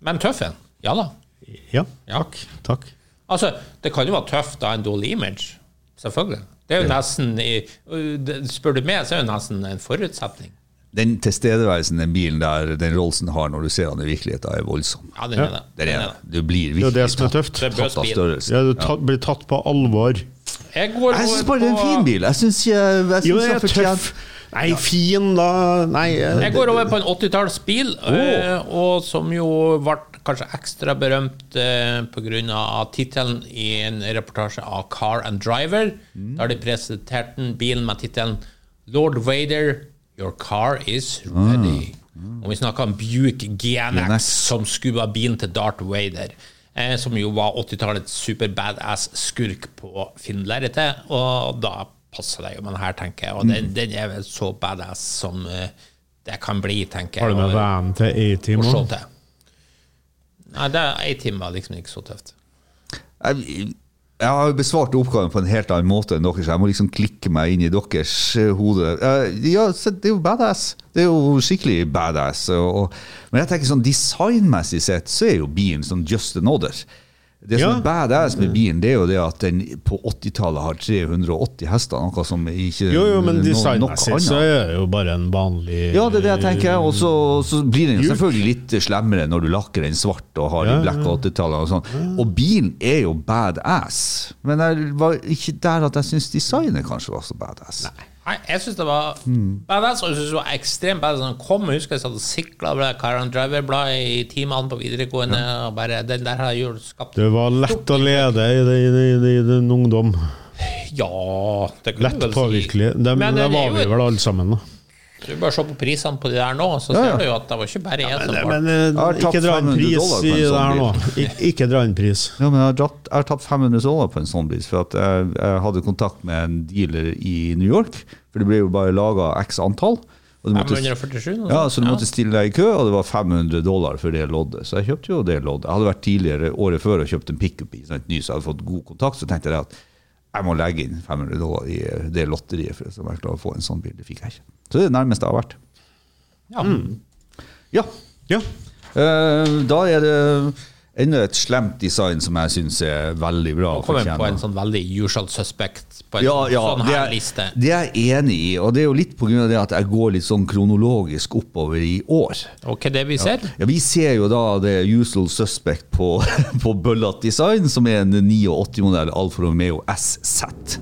S1: Men tøff en. Ja da.
S4: Ja,
S1: Ja.
S4: takk.
S1: Altså, det kan jo være tøft av en dårlig image. Selvfølgelig. Det er jo nesten i- det- Spør du meg, så er det jo nesten en forutsetning.
S3: Den tilstedeværelsen den bilen der den Rolsen har når du ser han i virkeligheten, er voldsom.
S1: Ja, den er det.
S3: Den er,
S1: det.
S3: det. Du blir
S4: Det er jo det
S3: virkelig
S4: som er
S3: tatt,
S4: tøft.
S1: Det er
S3: tatt av
S1: bøsbil.
S3: størrelsen.
S4: Ja, du ta, blir tatt på alvor.
S1: Jeg går
S3: Jeg syns
S1: over
S3: bare det er en
S1: på-
S3: fin bil. Jeg syns jeg, jeg
S4: Jo, det
S3: synes han
S4: er tøff.
S3: fortjener
S4: Nei, fin, da. Nei, eh,
S1: Jeg går over på en 80-tallsbil, eh, og som jo ble kanskje ekstra berømt eh, pga. tittelen i en reportasje av Car and Driver,
S3: Mm.
S1: der de presenterte den bilen med tittelen 'Lord Vader, your car is
S3: Ah.
S1: ready'.
S3: Mm.
S1: Og vi snakka om Buick GNX,
S3: GNX.
S1: som skua bilen til Darth Vader. Eh, som jo var 80-tallets super badass skurk på filmlerretet, og da passer det jo med den her, tenker jeg. Og den,
S4: Mm.
S1: den er vel så badass som eh, det kan bli, tenker
S4: Har
S1: jeg.
S4: du med
S1: og-
S4: vanen til
S1: og
S4: A-team
S1: se
S4: òg?
S1: til. Nei, det er én time var liksom ikke så tøft.
S3: jeg, jeg har jo besvart oppgaven på en helt annen måte enn dere, så jeg må liksom klikke meg inn i deres eh, hode. Eh, Ja, se, det er jo badass. Det er jo skikkelig badass. Og, og, men jeg tenker sånn designmessig sett så er jo bilen som just another. Det som
S4: Ja.
S3: er badass med bilen, det er jo det at den på 80-tallet har 380 hester, noe som ikke
S4: Jo, jo, men
S3: no-
S4: designmessig så
S3: annet.
S4: er det jo bare en vanlig
S3: Ja, det er det jeg tenker. Og så så blir den jo
S4: Juk.
S3: selvfølgelig litt slemmere når du lakker den svart og har de
S4: Ja,
S3: black 80-tallene og sånn. Og bilen er jo badass, men jeg var ikke der at jeg syns designet kanskje var så badass.
S1: Nei, jeg syns det var
S4: Mm.
S1: badass, og jeg synes det var ekstremt badass. Han kom, jeg husker jeg satt og sikla over det Car and Driver-bladet i timene på videregående, og bare Den der har jo skapt
S4: Det var lett å lede i, det- i, det- i, det- i den ungdom.
S1: Ja, det kan
S4: Lett
S1: du vel si.
S4: påvirkelig. Det,
S1: Men eh,
S4: men
S1: det er
S4: det var
S1: jo
S4: vi
S1: et-
S4: vel alle sammen, da.
S1: Du bare se på prisene på de der nå, så
S3: Ja, ja.
S1: ser du jo at det var ikke bare jeg som
S4: Men,
S1: var
S4: eh,
S3: har tapt
S4: ikke dra en
S3: 500
S4: pris
S3: dollar på
S4: i
S3: en
S4: det her
S3: sånn
S4: nå. Ik ikke dra en pris.
S3: Ja, men jeg har, dratt, jeg har tatt 500 dollar på en sånn bil, for at jeg, jeg hadde kontakt med en dealer i New York. For det ble jo bare laga x antall. Og du måtte,
S1: 547. noe
S3: ja,
S1: sånt.
S3: så du måtte stille deg i kø, og det var 500 dollar for det loddet. Så jeg kjøpte jo det loddet. Jeg hadde vært tidligere året før og kjøpt en pickup i sant, ny, så jeg hadde fått god kontakt. Så tenkte jeg at jeg må legge inn 500 dollar i eh, det lotteriet for å være klar å få en sånn bil. Det fikk jeg ikke. Så det er det nærmeste jeg har vært.
S1: Ja.
S3: Ja.
S4: Ja.
S3: Eh, da er det enda et slemt design som jeg syns er veldig bra.
S1: Kom inn på
S3: fortjener.
S1: en sånn veldig usual suspect på en
S3: Ja, ja,
S1: sånn
S3: det
S1: her
S3: er,
S1: liste.
S3: det er jeg enig i, og det er jo litt pga. det at jeg går litt sånn kronologisk oppover i år.
S1: Ok, det vi ser?
S3: Ja, Vi ser jo da det usual suspect på, på Bullet Design, som er en 89-modell Alfa Romeo SZ.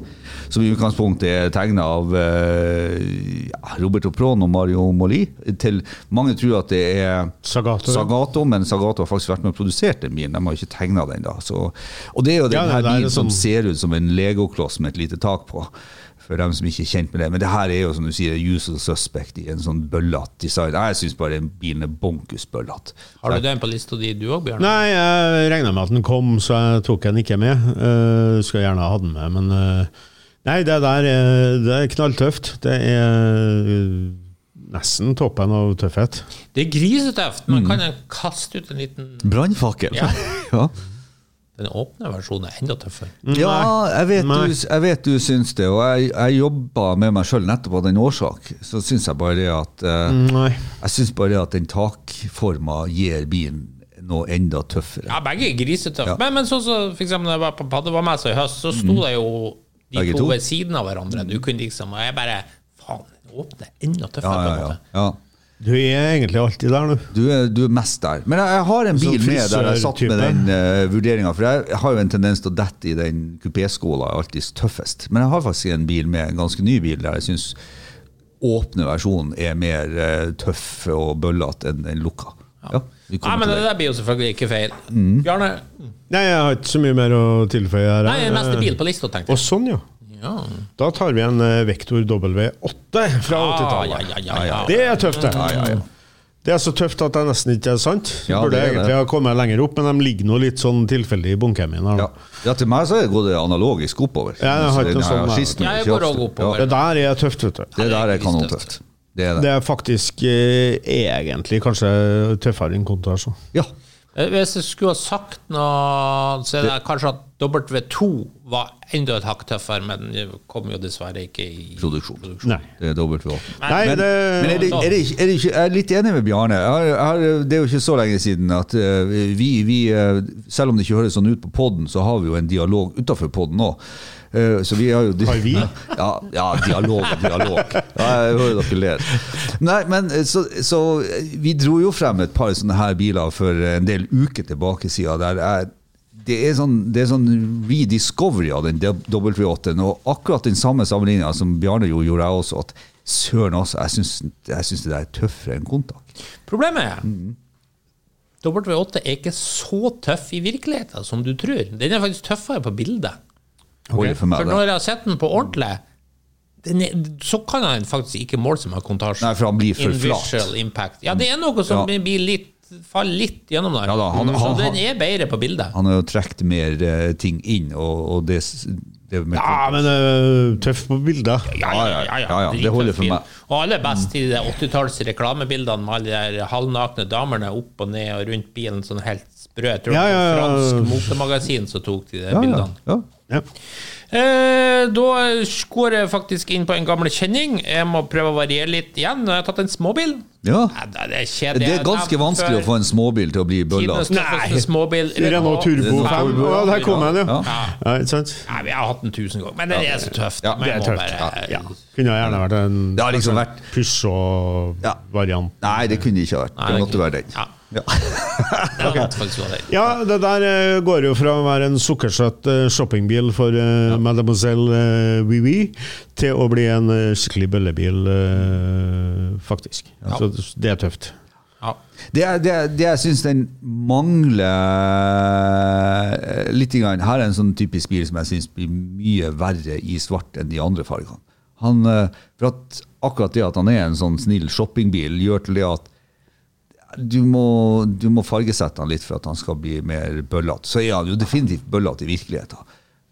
S3: Som i utgangspunktet er tegna av eh, ja, Roberto Pron og Mario Moli. Til, mange tror at det er
S4: Sagato.
S3: Sagato, men Sagato har faktisk vært med og produsert den bilen. De har ikke tegna den, da. Så, og det er jo den
S4: Ja, det
S3: her
S4: der er
S3: bilen som
S4: sånn-
S3: ser ut som en legokloss med et lite tak på. For dem som ikke er kjent med det. Men det her er jo som du sier, usual suspect i en sånn bøllete design. Jeg syns bare den bilen er bonkus bøllete.
S1: Har du den på lista di, du òg, Bjørn?
S4: Nei, jeg regna med at den kom, så jeg tok den ikke med. Eh, skulle gjerne ha hatt den med, men eh, Nei, det der er, det er knalltøft. Det er eh, nesten toppen av tøffhet.
S1: Det er grisetøft. Man kan jo kaste ut en liten
S3: Brannfakkel.
S1: Ja.
S3: ja.
S1: Den åpne versjonen er enda tøffere.
S3: Ja, jeg vet,
S4: Nei.
S3: du, jeg vet du syns det, og jeg, jeg jobba med meg sjøl nettopp av den årsak. Så syns jeg bare at eh,
S4: Nei.
S3: Jeg syns bare at den takforma gir bilen noe enda tøffere.
S1: Ja, begge er grisetøffe. Men, men sånn som for eksempel når jeg var på paddevannmessa i høst, så sto det jo de
S3: Mhm. Begge
S1: to,
S3: to.
S1: ved siden av hverandre. Du kunne liksom Og jeg bare Faen, den åpne er enda
S3: Ja,
S1: tøffere.
S3: ja,
S1: på en
S3: ja.
S1: måte.
S3: ja.
S4: Du er egentlig alltid der, du.
S3: Du, er, du er mest der. Men jeg, jeg har en
S4: Sånn
S3: bil med der jeg satt
S4: frisørtype.
S3: med den uh, vurderinga, for jeg har jo en tendens til å dette i den kupéskåla er alltid tøffest. Men jeg har faktisk en bil med, en ganske ny bil, der jeg syns åpne versjonen er mer eh, tøff og bøllete enn den lukka. Ja, vi
S1: Nei,
S3: kommer
S1: men
S3: til Mhm.
S1: det
S3: det.
S1: der blir jo selvfølgelig ikke feil. Bjarne,
S4: Nei, jeg har ikke så mye mer å tilføye her.
S1: nei, neste bil på lista, tenkte
S4: Og
S1: jeg.
S4: sånn, ja.
S1: Ja.
S4: Da tar vi en eh, Vektor W8 fra
S1: Ah,
S4: 80-tallet.
S1: ja, ja, ja, ja.
S4: Det er tøft, det. Det er så tøft at det nesten ikke er sant.
S3: Ja,
S4: Burde
S3: det er
S4: egentlig
S3: det.
S4: ha kommet lenger opp, men de ligger nå litt sånn tilfeldig i bunkemien her.
S3: Ja.
S4: nå.
S3: ja, til meg så er det gått analogisk oppover.
S4: Ja, jeg har ikke noe sånn, nei.
S3: skisten
S1: Ja, jeg
S3: ikke
S1: går
S3: opp.
S1: også oppover.
S4: Det der er tøft, vet du.
S3: Ja, det der er
S1: kanonstøft.
S3: kanontøft. Det er
S4: Det
S3: det.
S4: er faktisk eh, egentlig kanskje tøffere enn kontrasjon.
S3: Ja.
S1: Eh, Hvis jeg skulle ha sagt noe, så er det kanskje at W2 var enda et hakk tøffere, men det kom jo dessverre ikke i
S3: Produksjon.
S4: Nei.
S3: Det er dobbelt V8.
S4: Nei,
S3: Men, eh,
S4: det,
S3: men er det, er det, ikke- er det ikke, jeg er litt enig med Bjarne. Jeg har, jeg har, det er jo ikke så lenge siden at eh, vi, vi eh, Selv om det ikke høres sånn ut på poden, så har vi jo en dialog utafor poden òg. Eh, Så vi har jo
S4: Har vi?
S3: Ja, ja dialog og dialog. Ja, jeg hører dere ler. Nei, men eh, så, så eh, Vi dro jo frem et par sånne her biler for eh, en del uker tilbake siden. Der jeg, det er sånn, det er sånn rediscovery av den W8-en, og akkurat den samme sammenligninga som Bjarne jo gjorde jeg også, at søren også, jeg syns, jeg syns det der er tøffere enn Kontak.
S1: Problemet er
S3: Mm.
S1: W8 er ikke så tøff i virkeligheten som du tror. Den er faktisk tøffere på bildet.
S3: Oi, for meg,
S1: For
S3: det.
S1: når jeg har sett den på ordentlig, den er, så kan jeg faktisk ikke måle seg med kontasje.
S3: Nei, for han blir for
S1: In
S3: flat.
S1: visual Impact. Ja, det er noe som
S3: Ja.
S1: blir litt faller litt gjennom der.
S3: Ja da, han-
S1: så
S3: han-
S1: den er bedre på bildet.
S3: Han har jo trukket mer eh, ting inn, og, og det, s- det med
S4: Ja, men eh, tøff på bilder.
S3: ja, ja, det
S1: drittøff
S3: holder for
S1: bil.
S3: meg. Mm.
S1: Og aller best i de 80-talls reklamebildene med alle de der halvnakne damene opp og ned og rundt bilen, sånn helt sprø. Jeg tror
S4: Ja,
S1: det var
S4: ja, ja.
S1: fransk motemagasin som tok de der
S3: Ja, ja,
S1: bildene.
S3: ja.
S4: Ja.
S1: Eh, da går jeg faktisk inn på en gammel kjenning. Jeg må prøve å variere litt igjen. Nå har jeg tatt en småbil.
S3: Ja.
S1: Nei, da, det er kjedelig.
S3: Det er ganske vanskelig å få en småbil til å bli bølla.
S1: Tidenes tøffeste småbil.
S4: Renault Turbo
S3: Renault
S4: 5.
S3: Turbo,
S4: Å,
S3: ja.
S4: der kom den, ja.
S3: Ja.
S4: ja. Ikke sant?
S1: Nei, vi har hatt den tusen ganger, men det er så tøft.
S3: Ja,
S1: Men
S4: Det
S1: jeg
S4: er
S1: må
S4: tøft.
S1: bare-
S4: Ja. Kunne gjerne vært en
S3: Det har liksom vært Ja.
S4: Peugeot-variant.
S3: Nei, det kunne det ikke ha vært. Det
S1: Nei,
S3: måtte være den.
S1: Ja,
S3: Ja.
S1: det er faktisk hva det er.
S4: Ja, det der eh, går jo fra å være en sukkersøt eh, shoppingbil for eh, Mademoiselle eh, Vivi til å bli en eh, skikkelig bøllebil, eh, faktisk. Så det er tøft.
S1: Ja.
S3: Det, er- det, er- det jeg syns den mangler eh, litt grann, Her er en sånn typisk bil som jeg syns blir mye verre i svart enn de andre fargene. Han, eh, for at akkurat det at han er en sånn snill shoppingbil, gjør til det at du må, du må fargesette han litt for at han skal bli mer bøllete. Så er han jo definitivt bøllete i virkeligheten.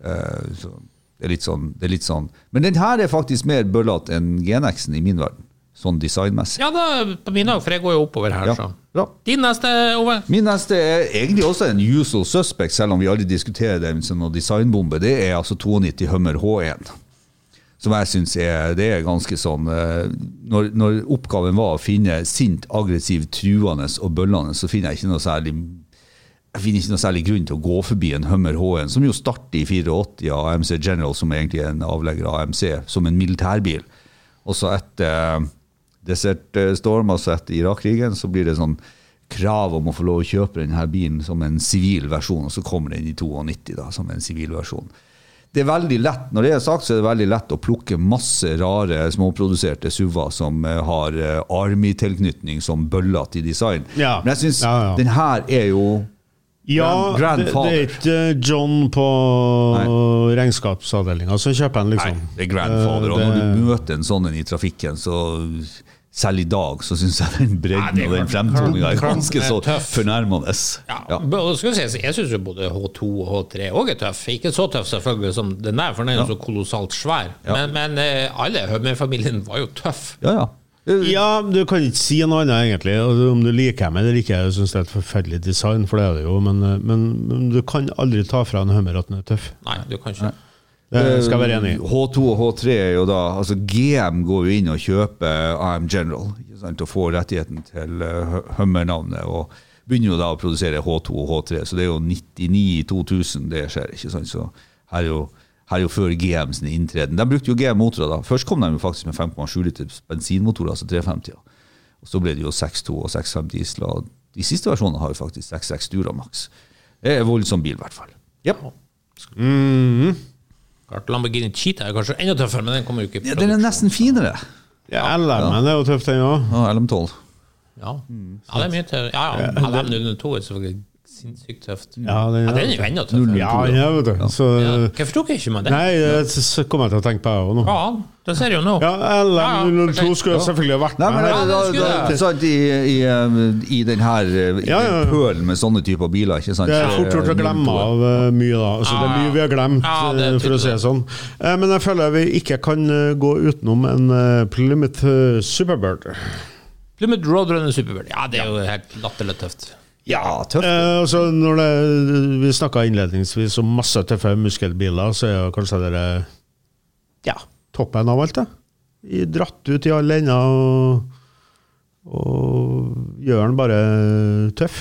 S3: Eh, så det, er litt sånn, det er litt sånn Men den her er faktisk mer bøllete enn GNX-en i min verden, sånn designmessig.
S1: ja da, på min dag, for jeg går jo oppover her,
S3: Ja,
S1: så.
S3: bra.
S1: Din neste, Ove.
S3: Min neste er egentlig også en usual suspect, selv om vi aldri diskuterer den som noen designbombe. Det er altså 92 Hummer H1. Som jeg syns er Det er ganske sånn eh, når, når oppgaven var å finne sint, aggressiv, truende og bøllende, så finner jeg ikke noe særlig jeg finner ikke noe særlig grunn til å gå forbi en Hummer H1, som jo starter i 84 av AMC General, som egentlig er en avlegger av AMC, som en militærbil. Og så etter eh, Desert Storm, altså etter Irak-krigen, så blir det sånn krav om å få lov å kjøpe denne bilen som en sivil versjon, og så kommer den i 92 da, som en sivil versjon. Det er veldig lett, Når det er sagt, så er det veldig lett å plukke masse rare småproduserte SUV-er som eh, har eh, Army-tilknytning som bøller til design.
S4: Ja.
S3: Men jeg syns
S4: Ja, ja.
S3: den her er jo
S4: Ja,
S3: Grand-
S4: det, det er ikke John på regnskapsavdelinga som kjøper den, liksom.
S1: Sånn.
S3: Nei, det er grandfather. Og når
S4: Eh, det-
S3: du møter en sånn en i trafikken, så Selv i dag så syns jeg den bredden
S1: Ja, det er
S3: og den
S1: klart.
S3: fremtoninga er ganske så
S1: Tøff.
S3: fornærmende.
S1: Ja.
S3: Ja.
S1: men og skal vi si, jeg syns jo både H2 og H3 òg er tøff. Ikke så tøff selvfølgelig som den der, for den er jo så kolossalt svær. Men, men eh, alle i Hummer-familien var jo tøff.
S3: Ja, ja. Eh,
S4: Ja, du kan ikke si noe annet, egentlig. Altså, Om du liker dem eller ikke, jeg syns det er et forferdelig design, for det er det jo, men, eh, men, men du kan aldri ta fra en hummer at den er tøff.
S1: Nei, du kan ikke.
S4: Det
S3: Eh,
S4: skal jeg være enig i.
S3: H2 og H3 er jo da altså GM går jo inn og kjøper AM General ikke sant, og får rettigheten til eh, Hu- Hummer-navnet. og Begynner jo da å produsere H2 og H3, så det er jo 99 i 2000 det skjer. ikke sant, så Her er jo, her er jo før GM sin inntreden. De brukte jo GM-motorer da. Først kom de jo faktisk med 5,7 liters bensinmotorer, altså 350. Og så ble det jo 6.2 og 6.5 diesler. og De siste versjonene har jo faktisk 6.6 Duramax. Det er en voldsom bil, i hvert fall. Yep.
S1: Mm-hmm. Klart, Lamborghini Cheetah er kanskje enda tøffere, men den kommer jo ikke i
S3: Ja, den er nesten finere.
S4: Ja, LM-en er jo tøff, den òg.
S3: Ja, LM12.
S1: Ja. ja, det er mye tøff. Ja, ja. LM 002 er selvfølgelig sinnssykt tøft. Ja,
S4: Ja, den
S1: den er jo enda tøffere.
S4: Ja, den er, vet du. Så eh,
S1: Ja. Hvorfor tok jeg ikke med den?
S4: Nei, det så kom jeg til å tenke på det òg nå.
S1: Ja, det ser jeg jo nå.
S4: Ja, LM02 skulle selvfølgelig ha vært
S3: Nei, men
S4: med
S3: da,
S4: her.
S3: da,
S1: den skulle
S3: da,
S1: jeg.
S3: sant, i, i, eh, I den her eh, i
S4: Ja, ja, ja.
S3: den pølen med sånne typer biler, ikke sant?
S4: Det er
S3: så
S4: fort gjort å
S3: null
S4: glemme
S3: på-
S4: av eh, mye, da. Altså, det er mye vi har glemt,
S1: Ja, det er
S4: eh, for å si det sånn. Eh, Men jeg føler vi ikke kan eh, gå utenom en eh, Plymouth eh, Superbird.
S1: Plymouth Roadrunner Superbird. Ja, det er jo helt latterlig tøft.
S3: Ja, tøft.
S4: Eh, altså, når det, vi snakka innledningsvis om masse tøffe muskelbiler, så er jo kanskje det eh, ja, toppen av alt, det. I- Dratt ut i alle ender og, og gjør den bare tøff.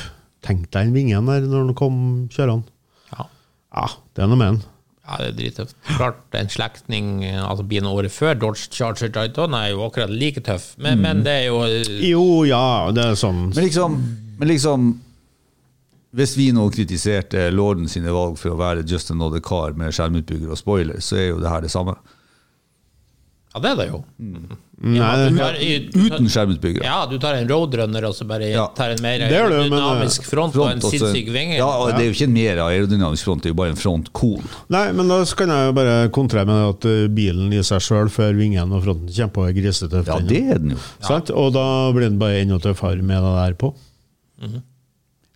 S4: Tenk deg den vingen der når den kom kjørende.
S1: Ja.
S4: Ja, det er noe med den.
S1: Ja, det er drittøft. Klart, en slektning, altså bilen året før, Dodge Charger Triton, er jo akkurat like tøff, men,
S4: Mm.
S1: men det er jo
S4: Jo, ja, det er sånn
S3: Men liksom, men liksom Hvis vi nå kritiserte Lorden sine valg for å være just another car med skjermutbygger og spoiler, så er jo det her det samme.
S1: Ja, det er det jo.
S4: Mm, Nei,
S1: Du tar, i-
S3: Uten skjermutbygger.
S1: ja, du tar en roadrunner og så bare
S3: Ja.
S1: tar en mer
S4: Det er det, men- eh,
S1: dynamisk front, og en
S3: og så-
S1: sinnssyk vinge.
S3: Ja, og det er jo ikke en mer aerodynamisk front, det er jo bare en frontkon.
S4: Nei, men da kan jeg jo bare kontre med at eh, bilen i seg sjøl før vingen og fronten kommer på er grisetøff.
S3: Ja,
S4: den,
S3: det er den jo.
S4: Sant? Og da blir den bare enda tøffere med det der på.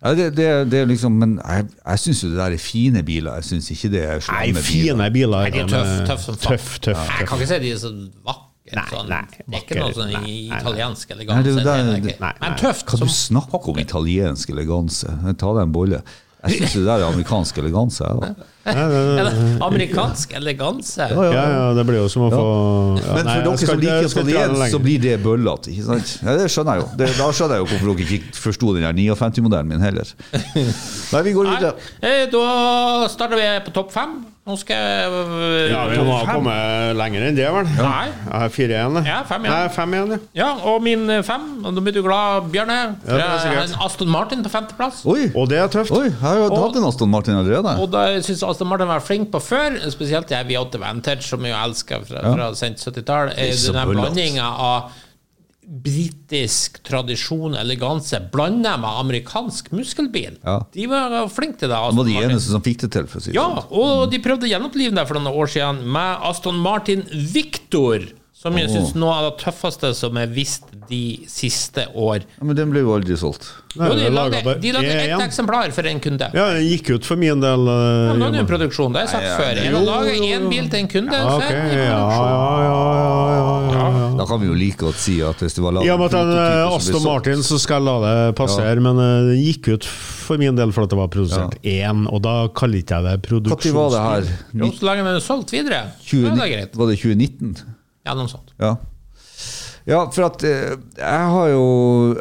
S3: Ja, det, det, det er liksom, men jeg, jeg syns jo det der er fine biler. Jeg syns ikke det er
S4: Nei,
S3: slemme biler.
S4: fine biler.
S1: Nei, de er
S4: da,
S1: tøff,
S4: men- eh,
S1: tøff som faen.
S4: tøff, tøff,
S1: Jeg
S4: tøff.
S1: kan ikke si de er så vakre.
S4: Nei,
S1: sånn.
S4: nei,
S1: det er ikke noe
S4: vakre,
S1: sånn
S4: nei, nei, nei.
S1: italiensk
S3: Nei, det
S1: eleganse.
S3: er jo
S1: det er
S3: der-
S1: det
S3: det-
S1: ikke.
S4: nei,
S1: Men
S4: nei.
S1: tøft
S3: Hva du
S1: som
S3: snakker om italiensk eleganse? Ta deg en bolle. Jeg syns det der er amerikansk eleganse. jeg, da.
S1: Er det Amerikansk eleganse.
S4: Ja, ja, det blir jo som å få ja,
S3: Men
S4: nei,
S3: for
S4: jeg
S3: dere
S4: skal
S3: som
S4: ikke- jeg
S3: liker
S4: skal ikke dra den
S3: italiensk, så
S4: lenger.
S3: blir det bøllete. ikke sant? Ja, det skjønner jeg jo. Det, da skjønner jeg jo hvorfor dere ikke forsto den der 59-modellen min heller. Nei, vi går
S1: Nei,
S3: videre.
S1: eh, da starter vi på topp fem. Nå skal jeg
S4: Ja, vi må ha kommet eh, lenger enn det, vel?
S1: Nei.
S4: Jeg har fire igjen, jeg.
S1: Ja, fem igjen.
S4: Nei, fem igjen, ja.
S1: Ja, og min eh, fem. og Da blir du glad, Bjørne.
S4: Ja, det er
S1: Jeg har
S4: sikkert.
S1: en Aston Martin på femteplass.
S3: Oi,
S4: Og det er tøft.
S3: Oi, jeg har jo hatt en Aston Martin allerede.
S1: Og da syns Aston Martin var flink på før, spesielt jeg V8 Vantage, som jeg elsker fra, fra sent 70-tall. eh,
S3: er så
S1: Den
S3: bøllete.
S1: blandinga av britisk tradisjon, eleganse, blanda med amerikansk muskelbil.
S3: Ja.
S1: De var flinke til det.
S3: Han
S1: Aston
S3: var de
S1: Martin.
S3: eneste som fikk det til, for å si det
S1: Ja,
S3: sånn.
S1: og de prøvde å gjenopplive det for noen år siden med Aston Martin Victor, som jeg syns noe av det tøffeste som er vist de siste år.
S3: Ja, men den ble jo aldri solgt.
S4: Nei,
S1: Jo, de
S4: det laget
S1: lagde,
S4: bare-
S1: de lagde
S4: Ja,
S1: ett
S4: ja.
S1: eksemplar for en kunde.
S4: Ja, den gikk ut for min del.
S1: Ja,
S4: eh,
S1: men Nå er det jo
S4: jobben.
S1: produksjon, det har jeg sagt før. Er det å lage én bil til en kunde,
S4: Ja,
S1: så
S4: ok,
S1: er det
S4: ja,
S1: i produksjon.
S4: ja, ja, ja, ja, ja.
S3: Da kan vi jo like godt si at hvis det var laget
S4: I og med at den
S3: prototyper
S4: eh,
S3: som ble
S4: Aston
S3: solgt-
S4: Martin, så skal jeg la det passere, men eh, den gikk ut for min del for at det var produsert én, og da kaller ikke jeg det
S3: Når var det
S4: produksjons...
S3: her?
S1: Jo, Så lenge den er solgt videre, så er det
S3: 2019?
S1: greit.
S3: Var det 2019?
S1: Ja, noe sånt.
S3: Ja. ja, for at eh, jeg har jo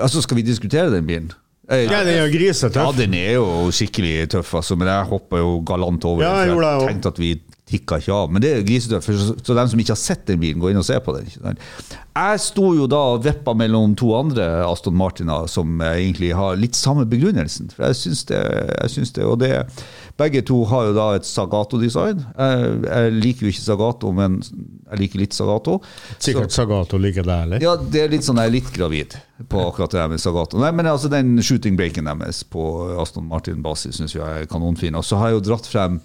S3: Altså, skal vi diskutere den bilen? Eh,
S4: Ja, den er jo
S3: ja,
S4: grisetøff.
S3: den er jo skikkelig tøff, altså, men jeg hoppa jo galant over
S4: Ja, jeg
S3: den. for
S4: gjorde det
S3: Jeg
S4: også.
S3: tenkte at vi tikka ikke av. Men det er jo grisetøff. for Så, så dem som ikke har sett den bilen, går inn og ser på den. ikke sant? Jeg sto jo da og vippa mellom to andre Aston Martiner som eh, egentlig har litt samme begrunnelsen. For jeg syns det, jeg syns det. Og det Begge to har jo da et Sagato-design. Jeg, jeg liker jo ikke Sagato, men jeg liker litt Sagato. Så-
S4: Sikkert Sagato liker det, eller?
S3: ja, det er litt sånn jeg er litt gravid på akkurat det der med Sagato. Nei, men altså den shooting breaken deres på Aston Martin-basis syns jeg er kanonfin. Og så har jeg jo dratt frem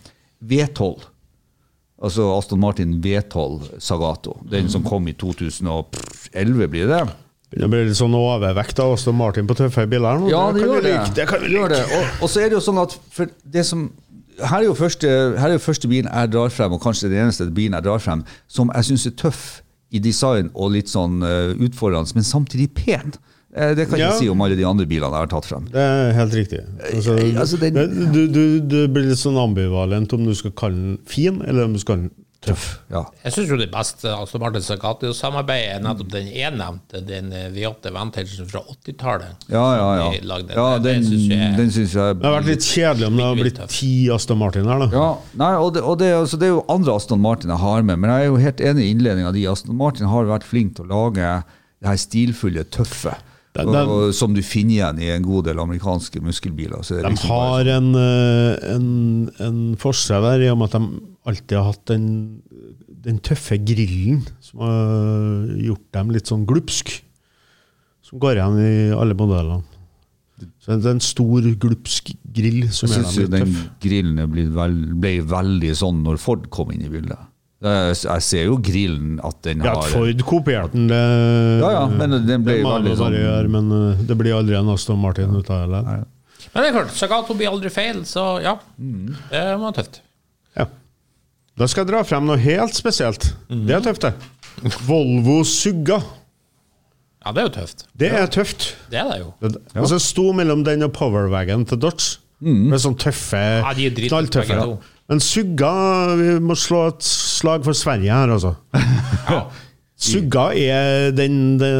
S3: V12. Altså Aston Martin V12 Sagato. Den som kom i 2011, blir det?
S4: Det blir litt sånn overvekt av Aston Martin på tøffe biler nå.
S3: Ja, det
S4: kan vi
S3: gjør det.
S4: like, Det kan vi
S3: gjør
S4: like.
S3: det. Og, og så er det jo sånn at for det som her er, jo første, her er jo første bilen jeg drar frem, og kanskje den eneste bilen jeg drar frem, som jeg syns er tøff i design og litt sånn eh, utfordrende, men samtidig pen. Eh, det kan jeg
S4: Ja.
S3: ikke si om alle de andre bilene jeg har tatt frem.
S4: Det er helt riktig. Altså,
S3: Eh, altså, den-
S4: det- du, du, du blir litt sånn ambivalent om du skal kalle den fin, eller om du skal kalle den tøff.
S3: Ja.
S1: Jeg syns jo det beste altså Martin Sagato-samarbeidet er nettopp den jeg nevnte, den eh, V8 Vantagen fra 80-tallet.
S3: Ja, ja, ja.
S1: De lagde
S3: ja
S1: det. Det
S3: den,
S1: synes jeg-
S3: den syns jeg
S4: Det har vært litt kjedelig om det har
S1: Litt
S4: blitt
S1: tøff.
S4: ti Aston Martin her, da.
S3: Ja, nei, og det, og det, er jo- så det er jo andre Aston Martin jeg har med, men jeg er jo helt enig i innledninga di. Aston Martin har vært flink til å lage det her stilfulle, tøffe,
S4: Den- den-
S3: og, som du finner igjen i en god del amerikanske muskelbiler. Så det er
S4: De
S3: liksom bare-
S4: har en, eh, en, en forskjell der i og med at de alltid har hatt den, den tøffe grillen som har gjort dem litt sånn glupsk. Som går igjen i alle modellene. Så det er en stor glupsk grill som
S3: jeg
S4: gjør
S3: syns jo
S4: dem litt
S3: den
S4: tøff.
S3: grillen er blitt vel, ble veldig sånn når Ford kom inn i bildet. Jeg, jeg ser jo grillen at den
S4: Ja,
S3: har
S4: at Ford kopierte den, det,
S3: Ja, ja, men den ble
S4: det må man
S3: veldig
S4: bare
S3: sånn-
S4: gjøre. Men eh, det blir aldri en Aston Martin ut av det. eller?
S1: Men det er klart, Sagato blir aldri feil, så ja. Det var tøft.
S4: Ja. Da skal jeg dra frem noe helt spesielt.
S3: Mhm.
S4: Det er tøft, det. Volvo Sugga.
S1: Ja, det er jo tøft.
S4: Det er tøft.
S1: Det er det jo.
S4: Det, Og så sto mellom den og powerwagen til Dodge.
S3: Mm.
S4: Med sånn tøffe,
S1: de er drittøffe,
S4: knalltøffe.
S1: begge
S4: Ja.
S1: to.
S4: Men Sugga Vi må slå et slag for Sverige her, altså. Sugga er den det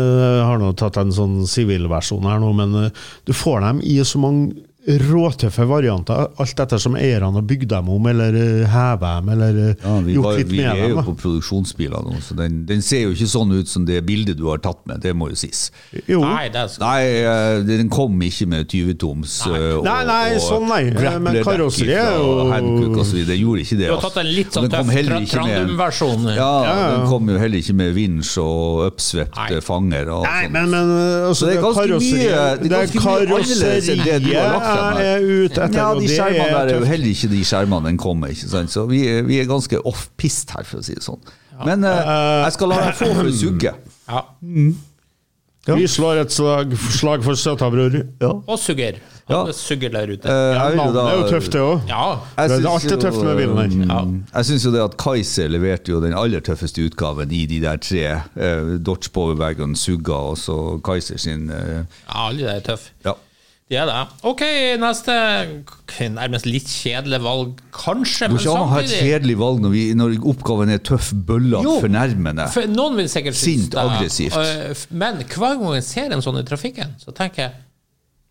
S4: Har nå tatt en sånn sivilversjon her nå, men eh, du får dem i så mange råtøffe varianter, alt etter som eierne har bygd dem om, eller eh, hevet dem, eller eh,
S3: Ja, vi,
S4: gjort
S3: var,
S4: litt
S3: vi
S4: med
S3: er
S4: dem.
S3: jo
S4: da.
S3: på produksjonsbiler nå, så den, den ser jo ikke sånn ut som det bildet du har tatt med. Det må jo sies.
S4: Jo.
S1: Nei, det er så
S3: Nei, eh, den kom ikke med 20-toms
S1: Nei.
S3: eh, og-
S4: Nei, nei,
S3: og
S4: sånn nei.
S3: grappler
S4: Men
S3: deck
S4: karosseriet er
S3: ifra
S4: jo-
S3: Hankook og så videre. Den gjorde ikke det.
S1: Du har
S3: altså.
S1: tatt en litt
S3: Og
S1: sånn
S3: den kom
S1: tøff
S3: heller
S1: tra-
S3: ikke med-
S1: Trandum-versjon.
S3: Ja,
S4: ja.
S3: den kom jo heller ikke med vinsj og oppsvepte
S1: Nei.
S3: fanger. Og
S4: Nei,
S3: sånt.
S4: men, men uh, altså,
S3: Sånn. Så det er ganske
S4: karosseriet-
S3: mye- det er ganske mye annerledes enn det du har lagt frem her.
S4: jeg er ute etter,
S3: ja,
S4: og
S3: de
S4: det
S3: skjermene der
S4: er
S3: er jo
S4: tøft.
S3: heller ikke de skjermene den kom med. ikke sant? Så vi, er- vi er ganske off-pist her, for å si det sånn. Men eh, jeg skal la deg få for sugge.
S1: Ja.
S4: Vi slår et slag, slag for støtta, bror.
S1: Og sugger.
S3: Ja.
S1: Han sugger der ute.
S3: Eh, jeg vil jo
S4: Navnet
S3: da-
S4: er jo tøft, det òg.
S1: Ja.
S3: Jeg
S4: Det er
S3: syns
S4: alltid
S3: jo,
S4: tøft med bilen her.
S3: mm,
S1: Ja.
S3: Jeg syns jo det at Kaiser leverte jo den aller tøffeste utgaven i de der tre. Eh, Dodge Powerwagon, Sugga og så Kaiser sin eh,
S1: ja, alle er tøffe.
S3: Ja.
S1: De er det. OK, neste k- nærmest litt kjedelig valg, kanskje,
S3: Det
S1: men
S3: går ikke an å ha et
S1: samtidig
S3: kjedelig valg når, vi, når oppgaven er tøff, bøllete,
S1: Jo.
S3: fornærmende.
S1: for Noen vil sikkert synes
S3: Sint,
S1: det,
S3: aggressivt.
S1: øh, f- Men hver gang jeg ser en sånn i trafikken, så tenker jeg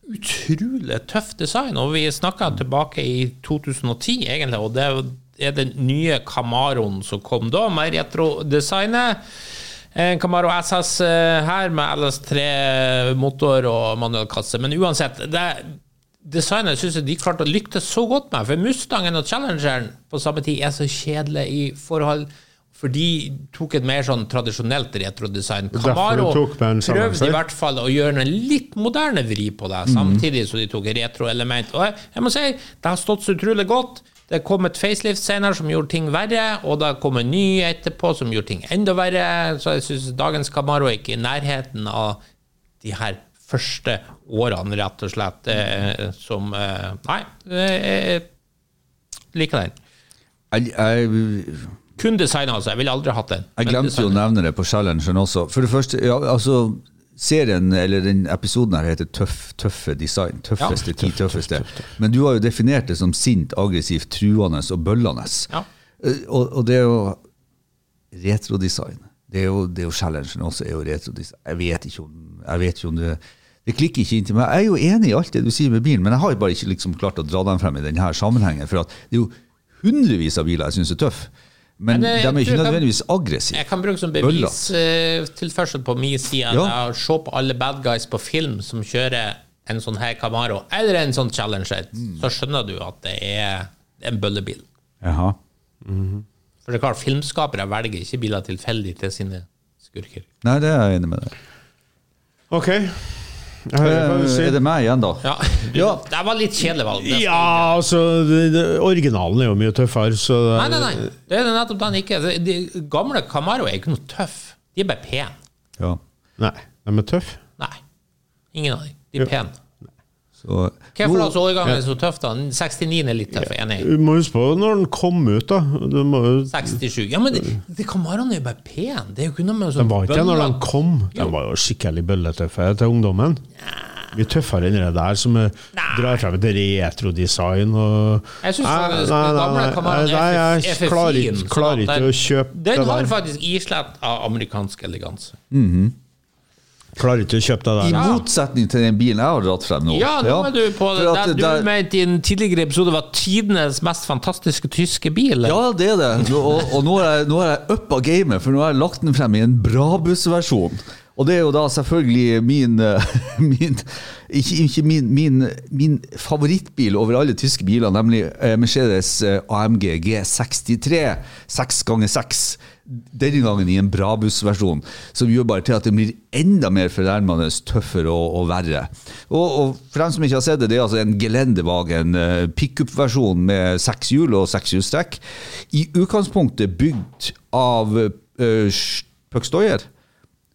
S1: utrolig tøff design. Og vi snakka tilbake i 2010, egentlig, og det er den nye Camaroen som kom da, med retrodesignet. En Camaro SS eh, her med LS3-motor eh, og manuell kasse. Men uansett, det designet syns jeg de klarte å lyktes så godt med. For Mustangen og Challengeren på samme tid er så kjedelig i forhold For de tok et mer sånn tradisjonelt retrodesign.
S4: er derfor
S1: Camaro
S4: du tok med en
S1: prøvde
S4: Challenger.
S1: i hvert fall å gjøre en litt moderne vri på det,
S3: Mhm.
S1: samtidig som de tok retroelement. Og jeg, jeg må si, det har stått så utrolig godt. Det kom et facelift senere som gjorde ting verre, og det kom en ny etterpå som gjorde ting enda verre, så jeg syns dagens Camaro er ikke i nærheten av de her første årene, rett og slett, eh, som eh, Nei, eh, jeg liker den.
S3: Jeg, jeg,
S1: Kun design, altså. Jeg ville aldri hatt den.
S3: jeg
S1: Men
S3: glemte jo å
S1: design.
S3: nevne det på Challengeren også. For det første, ja, altså Serien, eller den episoden her heter Tøff, tøffe design. Tøffeste, ti tøffeste. Men du har jo definert det som sint, aggressivt, truende og bøllende.
S1: Ja.
S3: Eh, Og, og det er jo retrodesign. Det er jo, det er jo challengen også. er jo retrodesign. Jeg vet ikke om, jeg vet ikke om det, det klikker ikke inn til meg. Jeg er jo enig i alt det du sier med bilen, men jeg har jo bare ikke liksom klart å dra dem frem i denne sammenhengen. For at det er jo hundrevis av biler jeg syns er tøffe. Men,
S1: Men, eh, jeg
S3: de er ikke
S1: tror jeg kan-
S3: nødvendigvis aggressive.
S1: Jeg kan bruke som
S3: Bøllete.
S1: bevistilførsel på min side
S3: Ja.
S1: ja. å se på alle bad guys på film som kjører en sånn her Camaro eller en sånn Challenger, så skjønner du at det er en bøllebil.
S3: Jaha.
S1: For det er klart, filmskapere velger ikke biler tilfeldig til sine skurker.
S3: Nei, det er jeg enig med deg
S4: Ok. Jeg hører hva du
S3: Eh, Er
S4: sier.
S3: det meg igjen, da?
S1: Ja, du, Det var litt kjedelig valg. det skal jeg
S4: Ja, altså det, det, Originalen er jo mye tøffere, så det,
S1: ikke- Nei, nei, nei. Det er nettopp den ikke. De gamle Camaro er ikke noe tøff. De er bare pene.
S3: Ja.
S4: nei. De er tøffe.
S1: Nei. Ingen av dem. De er pene.
S3: Så,
S1: Hva for slags årgang er så tøff, da? 69 er litt tøff, enig.
S4: Du må huske på når den kom ut, da. Du må, jo-
S1: 67. Ja, men det, det Camaroen er jo bare pen. Det er jo ikke noe med
S4: den
S1: sånn
S4: var ikke det når den
S1: bøller.
S4: kom. Den var jo skikkelig bølletøffe til ungdommen. Mye tøffere enn det der, som eh, drar frem et retrodesign og
S1: Jeg syns
S4: Nei,
S1: den
S4: nei, nei,
S1: gamle
S4: nei,
S1: Camaroen
S4: nei,
S1: er for-
S4: jeg
S1: er for
S4: klarer
S1: fin,
S4: ikke-
S1: sånn
S4: klarer
S1: at
S4: ikke
S1: den-
S4: å kjøpe
S1: Den
S4: det
S1: har
S4: der.
S1: faktisk islett av amerikansk eleganse.
S4: klarer ikke å kjøpe det
S3: I
S4: der.
S3: motsetning til den bilen jeg har dratt frem nå.
S1: Ja, nå er du på
S3: For
S1: det.
S3: at
S1: det
S3: der-
S1: du mente i en tidligere episode var tidenes mest fantastiske tyske bil.
S3: Ja, det er det. Nå, og, og nå har jeg, nå har jeg uppa gamet, for nå har jeg lagt den frem i en Brabus-versjon. Og det er jo da selvfølgelig min, eh, min Ikke, ikke min, min, min favorittbil over alle tyske biler, nemlig eh, Mercedes eh, AMG G63 6x6. Denne gangen i en Brabus-versjon, som gjør bare til at den blir enda mer fornærmende, tøffere og, og verre. Og, og for dem som ikke har sett det, det er altså en Geländewagen eh, pickup-versjon med seks hjul og sekshjulstrekk. I utgangspunktet bygd av eh, Sch- Pøck Steuer.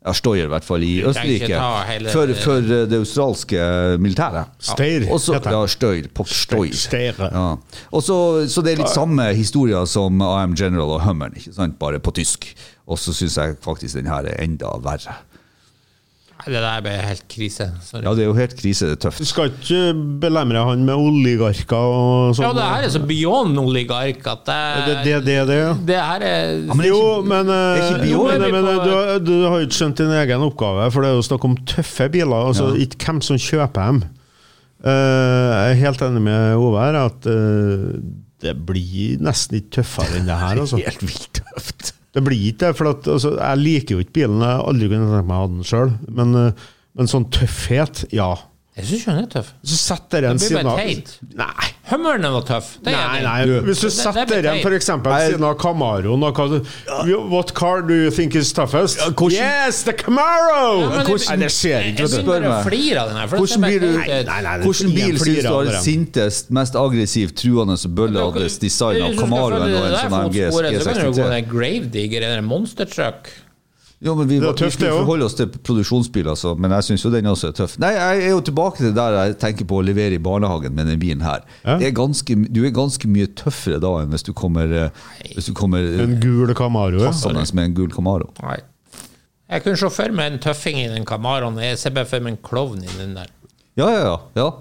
S3: Ja, Steuer, i hvert fall, i
S1: trenger ikke
S3: Østerrike.
S1: ta hele-
S3: For, for eh, det australske militæret.
S4: Steyr,
S3: Og så-
S4: heter det.
S3: Ja, Steyr. Pøck Steuer.
S4: Steyr, ja.
S3: Ja. Og så, så det er litt samme historier som AM General og Hummeren, ikke sant? bare på tysk. Og så syns jeg faktisk den her er enda verre.
S1: Nei, Det der ble helt krise. Sorry.
S3: Ja, det er jo helt krise, det er
S4: Du
S3: tøft.
S4: skal ikke belemre han med oligarker og sånn.
S1: Ja, det her er så beyond oligark at
S4: det,
S1: det,
S4: det, det, det, ja.
S1: det her er
S3: men det er
S4: jo,
S3: ikke-
S4: men,
S3: det er ikke
S4: eh,
S3: bio,
S4: jo, men,
S1: er vi
S4: men
S1: på-
S4: eh, du, har- du har jo ikke skjønt din egen oppgave, for det er jo snakk om tøffe biler. Altså ikke hvem som kjøper dem. Eh, jeg er helt enig med Ove her at eh, det blir nesten ikke tøffere enn det her. Altså.
S3: Helt vilt tøft.
S4: Det blir ikke det, for at, altså, jeg liker jo ikke bilen. Jeg har aldri kunnet tenke meg å ha den sjøl. Men, eh, men sånn tøffhet, ja.
S1: Jeg syns den er tøff.
S4: Så sett dere en
S1: Det blir
S4: siden
S1: bare
S4: av
S1: teit.
S4: Nei.
S1: Hummeren var tøff. Det er
S4: Nei,
S1: jeg enig i.
S4: nei, hvis du
S1: Det- det
S4: setter
S1: blir
S4: den
S1: teit.
S4: for eksempel ved siden av Camaroen og hva du What car do you think is toughest?
S3: hvordan-
S4: Yes, the Camaro!
S1: Ja, men det-
S4: Nei, det skjer ikke,
S1: Jeg
S4: vet du.
S3: Spør
S1: begynner å
S3: meg.
S1: flire av den her. for det
S3: Hvordan
S1: ser bare
S3: blir du-
S1: teit ut.
S4: Nei, nei, det er
S3: Hvilken
S4: ingen
S3: bil
S4: flirer
S3: syns du
S4: av
S3: har
S4: dem.
S3: sintest, mest aggressiv, truende og bølleadres design av
S1: Hvis du skal
S3: Camaroen
S1: følge
S3: og en
S1: det der
S3: sånn AMG
S1: fotsporet, Så kan du jo gå
S3: G63?
S1: ned Gravedigger eller en monstertruck.
S3: Jo, men vi,
S4: er
S3: vi
S4: tøft, det
S3: skulle
S4: også.
S3: forholde oss til produksjonsbiler, så, men jeg syns jo den også er tøff. Nei, jeg er jo tilbake til der jeg tenker på å levere i barnehagen med den bilen her.
S4: Ja.
S3: Det er ganske, du er ganske mye tøffere da enn hvis du kommer, eh, hvis du kommer eh,
S4: En gul Camaro. ja.
S3: passende med en gul Camaro.
S1: Nei. Jeg kunne se for meg en tøffing i den Camaroen. Jeg ser bare for meg en klovn i den der.
S3: Ja, ja, ja. ja.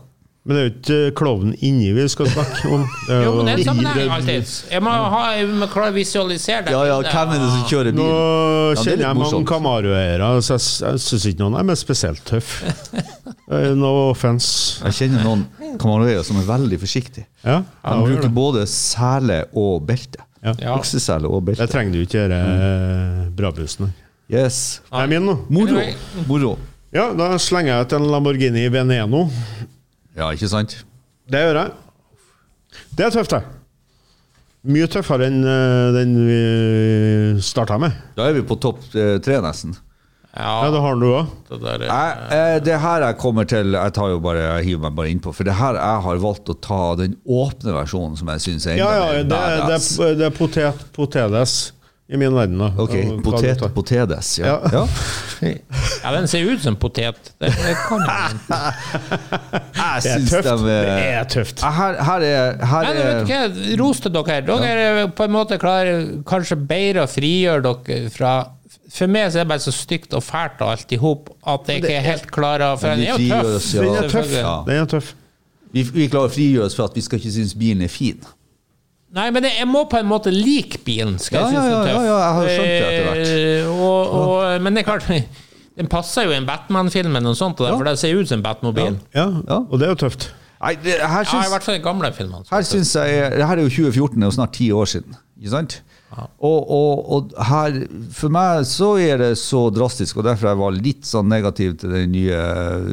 S4: Men det er jo ikke eh, klovnen inni vi skal snakke om. Det er
S1: Jo, men det er
S4: i
S1: en sammenheng
S4: det-
S1: alltid. Jeg må, ha, jeg må klare å visualisere det.
S3: Ja, ja, hvem er det som
S4: Nå
S3: kjører bilen? Ja, det er litt
S4: kjenner jeg mange
S3: morsomt.
S4: Camaro-eiere, så jeg, s- jeg syns ikke noen er mest spesielt tøff. Eh, No offense.
S3: Jeg kjenner noen Camaroer som er veldig forsiktige.
S4: Ja,
S3: De
S4: jeg gjør
S3: bruker
S4: det.
S3: både sele og belte.
S4: Ja.
S1: Ja.
S3: Oksesele og
S4: det
S3: belte.
S4: trenger du ikke gjøre brabusene.
S3: Yes.
S4: Det er min nå.
S3: Moro. Moro.
S4: Ja, da slenger jeg ut en Lamborghini Veneno.
S3: Ja, ikke sant?
S4: Det gjør jeg. Det er tøft, det. Mye tøffere enn eh, den vi starta med.
S3: Da er vi på topp eh, tre, nesten.
S4: Ja,
S1: Ja,
S4: det har du òg.
S1: det der er-
S3: Jeg, eh, det her jeg kommer til Jeg tar jo bare, jeg hiver meg bare innpå. For det her jeg har valgt å ta den åpne versjonen som jeg syns er
S4: Ja,
S3: enda
S4: ja, det, er- det,
S3: badass.
S4: er- det er potet, potedes i min verden, da.
S3: Ok,
S4: Og hva
S3: potet,
S4: du tar.
S3: potedes. Ja.
S4: Ja.
S3: Ja.
S1: ja, den ser ut som potet. Det, det kan jeg. ikke.
S3: Jeg
S4: Det er
S3: syns
S4: tøft.
S3: dem
S4: Det
S3: eh,
S4: er tøft.
S3: her, her er, her
S1: Men vet du
S3: er
S1: hva, ros til dere. Dere er på en måte klarer kanskje bedre å frigjøre dere fra For meg så er det bare så stygt og fælt og alt i hop at jeg ikke er helt klarer For den er jo tøff.
S4: Den er
S3: frigjør oss, ja.
S4: tøff.
S1: selvfølgelig.
S3: Ja.
S4: Den er tøff.
S3: vi, vi klarer å frigjøre oss for at vi skal ikke synes bilen er fin.
S1: Nei, men jeg jeg må på en måte like bilen, skal jeg
S3: Ja,
S1: synes
S3: ja,
S1: den er
S3: ja,
S1: tøff.
S3: ja, jeg har skjønt det etter hvert.
S1: Eh, Og, og, men det er klart, den passer jo i en Batman-film eller noe sånt, og der, for det ser ut som en Batmobil.
S4: Ja,
S3: Ja.
S4: og det er jo tøft.
S3: Nei, det, her
S1: Ja, i
S3: syns
S1: hvert fall de gamle filmene.
S3: Her synes jeg, det her er jo 2014, det er jo snart ti år siden. Ikke sant? Og, og, og her, for meg så er det så drastisk, og derfor jeg var litt sånn negativ til den nye øh,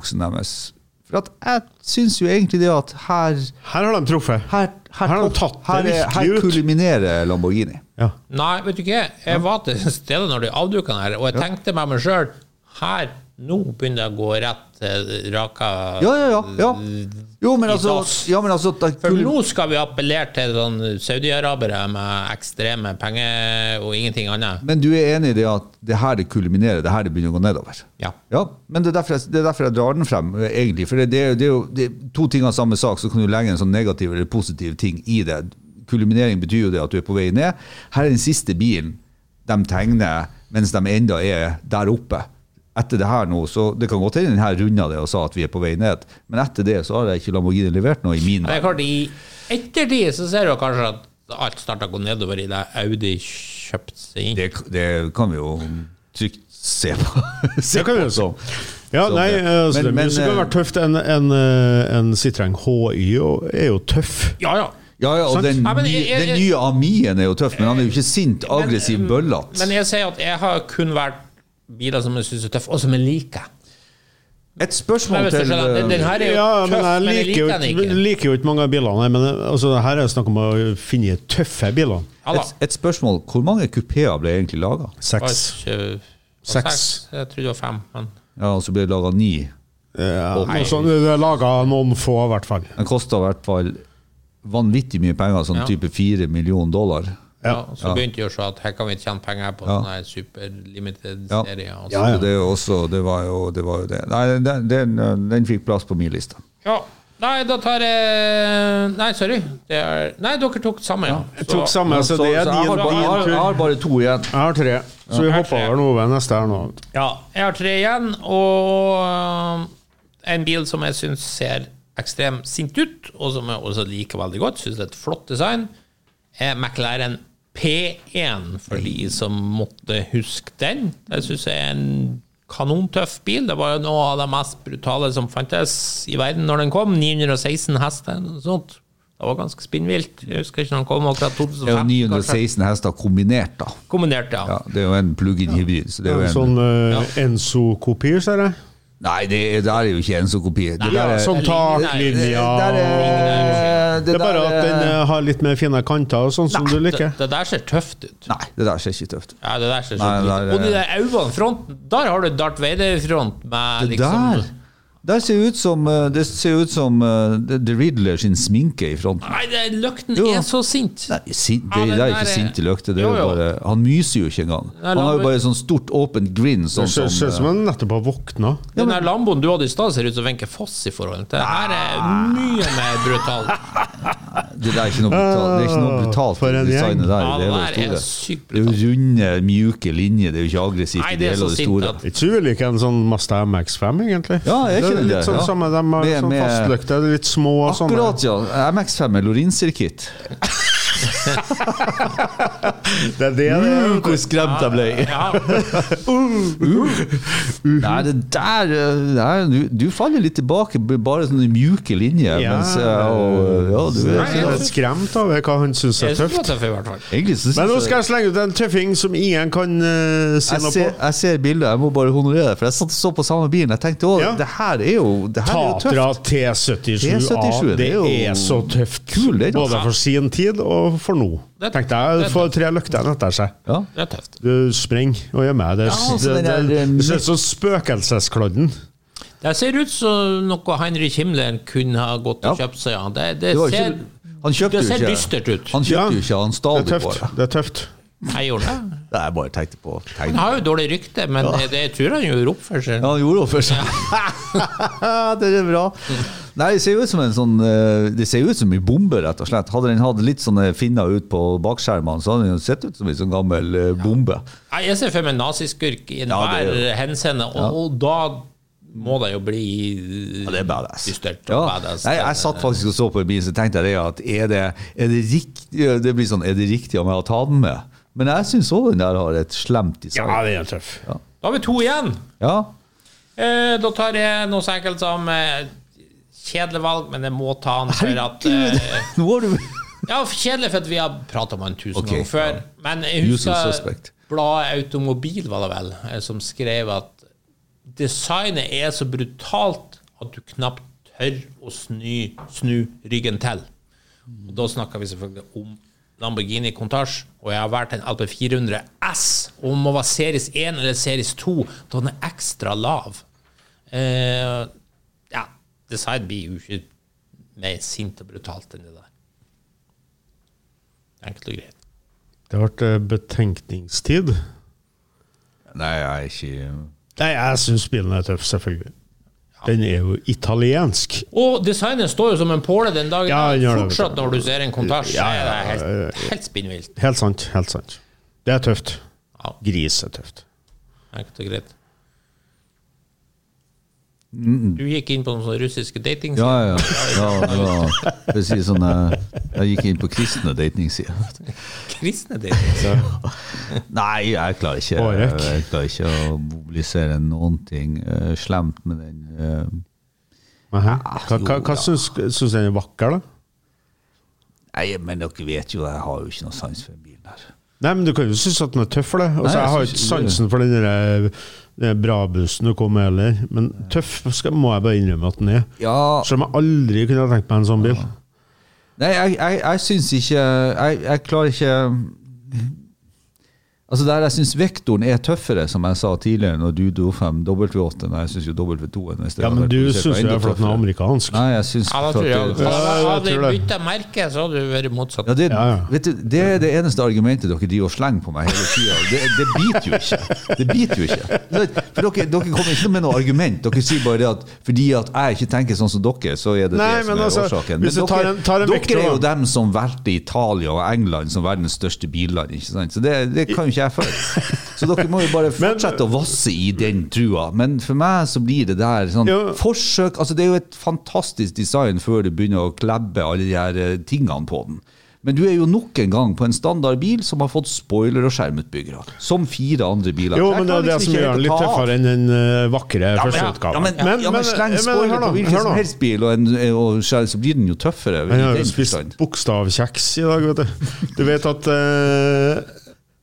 S3: oksen deres. For at jeg syns jo egentlig det at her
S4: Her har de truffet.
S3: Her,
S4: Her har de tatt det
S3: her, er- her
S4: virkelig ut.
S3: kulminerer Lamborghini.
S4: Ja.
S1: Nei, vet du ikke, jeg var til stede når de avduka den her, og jeg tenkte med meg sjøl her Nå begynner det å gå rett eh, raka
S3: Ja, ja, ja. ja. Jo, men altså, ja, men altså da-
S1: For nå skal vi appellere til sånn saudiarabere med ekstreme penger og ingenting annet.
S3: Men du er enig i det at det her det kulminerer, det her det begynner å gå nedover?
S1: Ja.
S3: Ja, men det er derfor jeg, det er derfor jeg drar den frem, eh, egentlig. For det, det, er jo- det er jo det, er to ting av samme sak, så kan du legge en sånn negativ eller positiv ting i det. Kulminering betyr jo det at du er på vei ned. Her er den siste bilen de tegner mens de enda er der oppe. Etter det her nå, så det kan godt hende den her runda det og sa at vi er på vei ned, men etter det så har jeg ikke Lamborghini levert noe i min
S1: Men det er klart, i ettertid så ser du kanskje at alt starta å gå nedover i det Audi kjøpte seg inn.
S3: Det, det kan vi jo trygt se på. se
S4: Det kan vi jo så. Ja,
S3: Så
S4: nei,
S3: det-
S4: altså,
S3: Men-
S4: det
S3: men,
S4: men, kan
S3: eh,
S4: være tøft. En, en, eh, en Citroën HY og- er jo tøff.
S1: Ja, ja.
S3: Ja, ja, og
S4: Sant?
S3: den,
S1: Ja, men
S3: nye-
S1: jeg- jeg-
S3: den nye Amien er jo tøff, men han er jo ikke sint, aggressiv, bøllete.
S1: Men jeg sier at jeg har kun vært biler som jeg syns er tøffe, og som jeg liker.
S3: Et spørsmål
S1: Men hvis du
S3: til
S1: skjønner, den, den
S3: eh,
S1: her er jo
S4: Ja,
S1: tøff,
S4: men jeg liker jo
S1: den
S4: ikke,
S1: ikke.
S4: liker jo ikke mange av bilene. Men eh, altså, her er det snakk om å finne tøffe biler.
S1: Ja, da.
S3: eh, et, et spørsmål. Hvor mange kupeer ble egentlig laga?
S1: Det var
S4: Seks.
S1: ikke- det var
S4: Seks.
S1: seks. Jeg trodde det var fem. Men.
S3: Ja, og så ble det laga ni.
S4: Ja, noe sånt. det er laga noen få, i hvert fall.
S3: Den kosta i hvert fall vanvittig mye penger, sånn
S1: Ja.
S3: type fire millioner dollar.
S1: Ja, så begynte jeg å se at her kan vi tjene penger på sånne her superlimited
S3: Ja.
S1: serier. altså. og
S3: Så
S1: sånt.
S3: det, er jo også, det var jo det. Var jo det. Nei, den, den, den fikk plass på min liste.
S1: Ja. Nei, da tar jeg Nei, sorry. Det er... Nei, dere tok samme, ja.
S4: Jeg tok samme, så Altså,
S3: Så, så
S4: det
S3: jeg,
S4: er
S3: har
S4: din,
S3: bare, jeg, har,
S4: din
S3: jeg
S4: tur.
S3: har bare to igjen.
S4: Jeg har tre, så vi hopper over noe ved neste her nå.
S1: Ja, jeg har tre igjen, og øh, en bil som jeg syns ser ekstremt sint ut, og som jeg også liker veldig godt, syns det er et flott design, er McLaren P1, for de som måtte huske den. Det syns jeg er en kanontøff bil. Det var jo noe av det mest brutale som fantes i verden når den kom. 916 hester og sånt. Det var ganske spinnvilt. Jeg husker ikke når den kom, akkurat
S3: Det
S1: 2005.
S3: er jo
S1: kanskje.
S3: 916 hester kombinert, da.
S1: Kombinert,
S3: Ja,
S1: ja.
S3: det er jo en plug-in hybrid. Så det er jo
S4: En
S3: en,
S4: sånn uh, Enso-kopi, ser jeg.
S3: Nei, det, det er jo ikke Enso-kopi. Det der
S4: Ja,
S3: er-
S4: sånn taklinja
S3: Der er-
S4: Det er bare
S3: der
S4: at
S3: er-
S4: den eh, har litt mer fine kanter, og sånn som du
S1: Det,
S4: liker.
S1: det der ser tøft ut.
S3: Nei, det der ser ikke tøft ut.
S1: Ja, det der ser
S3: Nei,
S1: sånn ut.
S3: det der-
S1: Og de der øynene, fronten, der har du Darth Vader-front med liksom
S3: Det der der ser ut som, eh, det ser ut som eh, The The Riddler sin sminke i fronten.
S1: Nei, det, løkten
S3: Jo.
S1: er så sint!
S3: Nei, sin,
S1: Ja,
S3: det,
S1: den
S3: det er
S1: der
S3: ikke
S1: er-
S3: sinte løkter. Det er
S1: Jo,
S3: jo
S1: jo.
S3: bare, han myser jo ikke engang.
S1: Nei,
S3: Han har
S1: la-
S3: jo bare sånn stort, åpent grin. Sånn,
S4: Det ser ser
S3: som,
S4: ut som han nettopp har våkna.
S1: Den der lamboen du hadde i stad, ser ut som Wenche Foss i forhold til. Det her er
S3: Ah.
S1: mye mer brutalt.
S3: eh, det, der er ikke noe brutalt, det er ikke noe brutalt
S4: For en
S3: i designet der.
S1: Ja,
S3: det er jo
S1: det der er
S3: store.
S1: sykt
S3: Det er jo runde, mjuke linjer. Det er jo ikke aggressivt
S1: Nei,
S3: i
S1: det
S3: det
S1: er så
S3: hele og det
S1: sint
S3: store.
S1: at
S4: Ikke så ulik en sånn Mazda MX5, egentlig.
S3: Ja, er
S4: det
S3: ikke den
S4: er
S3: det?
S4: litt sånn
S3: Ja.
S4: samme, de har
S3: Med-
S4: sånn
S3: med-
S4: fastløkte, de er litt små og sånne.
S3: Akkurat, ja. MX5 er Lorin-sirkitt.
S4: Det er det det er.
S3: Uh, hvor skremt jeg ble!
S1: ja,
S4: Uh.
S3: Nei, det der eh, nei, du, du faller litt tilbake, b- bare sånne mjuke linjer.
S4: Ja.
S3: Mens, eh, og, ja, du er
S4: Jeg er litt skremt over hva han syns
S1: Jeg
S4: er
S1: synes det var
S4: tøft.
S1: tøff, i hvert fall.
S3: Egentlig så
S4: Men nå
S3: synes jeg
S4: skal jeg slenge ut en tøffing som ingen kan eh, si
S3: jeg
S4: noe
S3: ser,
S4: på.
S3: jeg ser bildet, jeg må bare honorere det. For jeg satt og så på samme bilen. Jeg tenkte òg
S4: Ja.
S3: det her er jo, det her er jo tøft.
S4: Tatra T77A.
S3: T77,
S4: Det
S3: det er jo
S4: er så tøft.
S3: kul, den, altså.
S4: Både for sin tid og for nå.
S1: Det-
S4: Tenkte jeg
S1: det-
S4: får tre lykter etter seg.
S3: Ja.
S1: Det er tøft.
S4: Du springer og gjør meg. Det,
S3: Ja, altså,
S4: det, det,
S3: den der,
S4: det,
S3: eh,
S4: ser ut som spøkelseskladden.
S1: Det ser ut som noe Heinrich Himmler kunne ha gått og
S3: Ja.
S1: kjøpt seg, ja. Det, det,
S3: Det var jo
S1: ser,
S3: ikke, han
S1: det
S3: kjøpte jo
S1: ser
S3: ikke
S1: dystert ut.
S3: Han
S4: Ja.
S3: kjøpte jo ikke, han
S4: Det
S3: stal
S4: er
S3: det
S4: tøft.
S3: bare.
S4: Det er tøft.
S1: Jeg gjorde det.
S3: Nei, jeg bare tenkte på
S1: Han
S3: tegnet.
S1: har jo dårlig rykte, men det, det tror han gjorde opp for seg.
S3: Ja, han gjorde det for seg. det er bra. Nei, det ser jo ut som en sånn eh, Det ser jo ut som en bombe, rett og slett. Hadde den hatt litt sånne finner ut på bakskjermene, så hadde den jo sett ut som en sånn gammel eh, bombe.
S1: Nei, Jeg ser for meg en naziskurk i
S3: Ja, det
S1: enhver
S3: er
S1: henseende, og, og da må det jo bli
S3: Ja, det er badass.
S1: Dystert og
S3: Ja.
S1: badass.
S3: Nei, jeg satt faktisk og så på en bil, så tenkte jeg det at er det, er det riktig Det blir sånn, er det riktig om jeg har tatt den med? Men jeg syns òg den der har et slemt
S4: Ja,
S3: design.
S4: det er tøff.
S1: Da har vi to igjen.
S3: Ja.
S1: Eh, da tar jeg noe så enkelt som eh, kjedelig valg, men jeg må ta den for at eh,
S3: Nå har du
S1: Ja, for kjedelig for at vi har prata om han tusen
S3: Ok,
S1: ganger før. Men jeg
S3: Usual
S1: husker
S3: suspect.
S1: bladet Automobil, var det vel, eh, som skrev at designet er så brutalt at du knapt tør å snu, snu ryggen til. Og da snakker vi selvfølgelig om Lamborghini Countach, og jeg har valgt en LP 400 S, om den var series 1 eller series 2, da den er ekstra lav. Eh, ja, design blir jo ikke mer sint og brutalt enn det der. Enkelt og greit.
S4: Det ble eh, betenkningstid.
S3: Nei, jeg er ikke
S4: Nei, jeg syns bilen er tøff, selvfølgelig. Den er jo italiensk.
S1: Og designen står jo som en påle den dagen.
S4: Ja, den gjør det,
S1: Fortsatt
S4: vet du.
S1: når du ser en Countach,
S4: Ja,
S1: ja, ja,
S4: ja,
S1: er
S4: ja, ja,
S1: det helt, helt spinnvilt.
S4: Helt sant. Helt sant. Det er tøft.
S1: Ja.
S4: Gris er tøft.
S1: Enkelt og greit. Du gikk inn på noen sånne russiske dating
S3: Ja, ja. ja det var, det sier sånn, eh, jeg gikk inn på kristne datingsider.
S1: Kristne dating
S3: Nei, jeg klarer ikke
S4: Årek.
S3: Jeg klarer ikke å mobilisere noen ting eh, slemt med den. eh.
S4: Aha. Hva, hva,
S3: jo, ja.
S4: hva syns syns den er vakker, da?
S3: Nei, men dere vet jo, jeg har jo ikke noe sans for den bilen her.
S4: Nei, men du kan jo synes at den er tøff for det. Og
S3: Nei,
S4: så
S3: jeg
S4: jeg har
S3: synes
S4: ikke
S3: ikke det.
S4: sansen for den der, den brabussen du kom med heller. Men tøff skal, må jeg bare innrømme at den er.
S3: Ja,
S4: Selv om jeg aldri kunne ha tenkt meg en sånn bil.
S3: Nei, jeg, jeg, jeg syns ikke jeg, jeg klarer ikke Altså Der jeg syns vektoren er tøffere, som jeg sa tidligere, når du dro frem W8 Nei, jeg syns jo W2 hvis det
S4: Ja,
S3: hadde
S4: men
S3: vært
S4: du
S3: produsert,
S4: syns
S3: var
S4: jo
S3: enda
S4: det er fordi den er
S3: tøffere.
S4: amerikansk.
S3: Nei, jeg syns
S1: Ja, da tror jeg
S3: at-
S1: Hadde
S4: jeg
S1: vi
S4: tror det.
S1: bytta merke, så hadde du vært motsatt.
S3: ja, det,
S4: Ja, ja.
S3: Vet du, det er det eneste argumentet dere driver og slenger på meg hele tida. Det, det biter jo ikke. Det biter jo ikke. For dere, dere kommer ikke med noe argument. Dere sier bare det at fordi at jeg ikke tenker sånn som dere, så er det
S4: Nei,
S3: det som
S4: men
S3: er
S4: altså,
S3: årsaken.
S4: hvis du
S3: dere,
S4: tar en- tar en
S3: dere
S4: vektor,
S3: er jo
S4: da.
S3: dem som valgte Italia og England som verdens største billand, ikke sant? Så det, det kan jo ikke jeg føle. Så dere må jo bare
S4: Men-
S3: fortsette å vasse i den trua. Men for meg så blir det der sånn
S4: Ja.
S3: forsøk Altså, det er jo et fantastisk design før du begynner å klebbe alle de her eh, tingene på den. Men du er jo nok en gang på en standard bil som har fått spoiler og skjermutbyggere. Som fire andre biler.
S4: Jo,
S3: Jeg
S4: men det
S3: klarer
S4: er det
S3: liksom
S4: som
S3: ikke
S4: gjør den
S3: helt å
S4: litt
S3: ta av.
S4: tøffere enn den eh, vakre
S3: Ja, men-
S4: første
S3: Ja,
S4: utgaven.
S3: men, ja, men sleng spoiler på hvilken som helst bil, og en, og, skjær- så blir den jo tøffere. i
S4: Jeg har jo
S3: den
S4: spist
S3: forstand.
S4: bokstavkjeks i dag, vet du. Du vet at eh,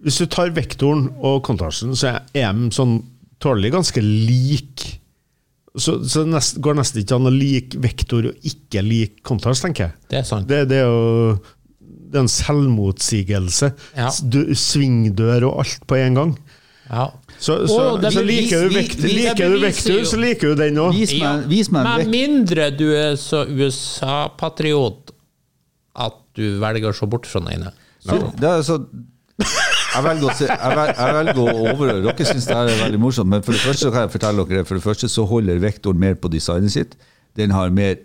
S4: hvis du tar vektoren og kontasjen, så er EM sånn tålelig ganske lik. Så, så det nest, går nesten ikke an å like vektor og ikke like kontasj, tenker jeg.
S1: Det er sant.
S4: Det, det er jo det er en selvmotsigelse.
S1: Ja.
S4: S- dø- Svingdør og alt på en gang.
S1: Ja.
S4: Så,
S1: Å,
S4: så,
S1: det
S4: så
S1: bevis-
S4: liker du
S1: vi- vi-
S4: vektor,
S1: det
S4: liker du
S1: beviser
S4: vektor
S1: jo-
S4: så liker du den òg.
S3: Vis
S1: Ja.
S3: meg, vis meg en
S1: Med
S3: vekt.
S1: mindre du er så USA-patriot at du velger å se bort fra den ene.
S3: Så, det er altså jeg velger, å se, jeg, vel, jeg velger å overhøre. Dere syns det her er veldig morsomt, men for det første kan jeg fortelle dere det. For det første så holder vektoren mer på designet sitt. Den har mer,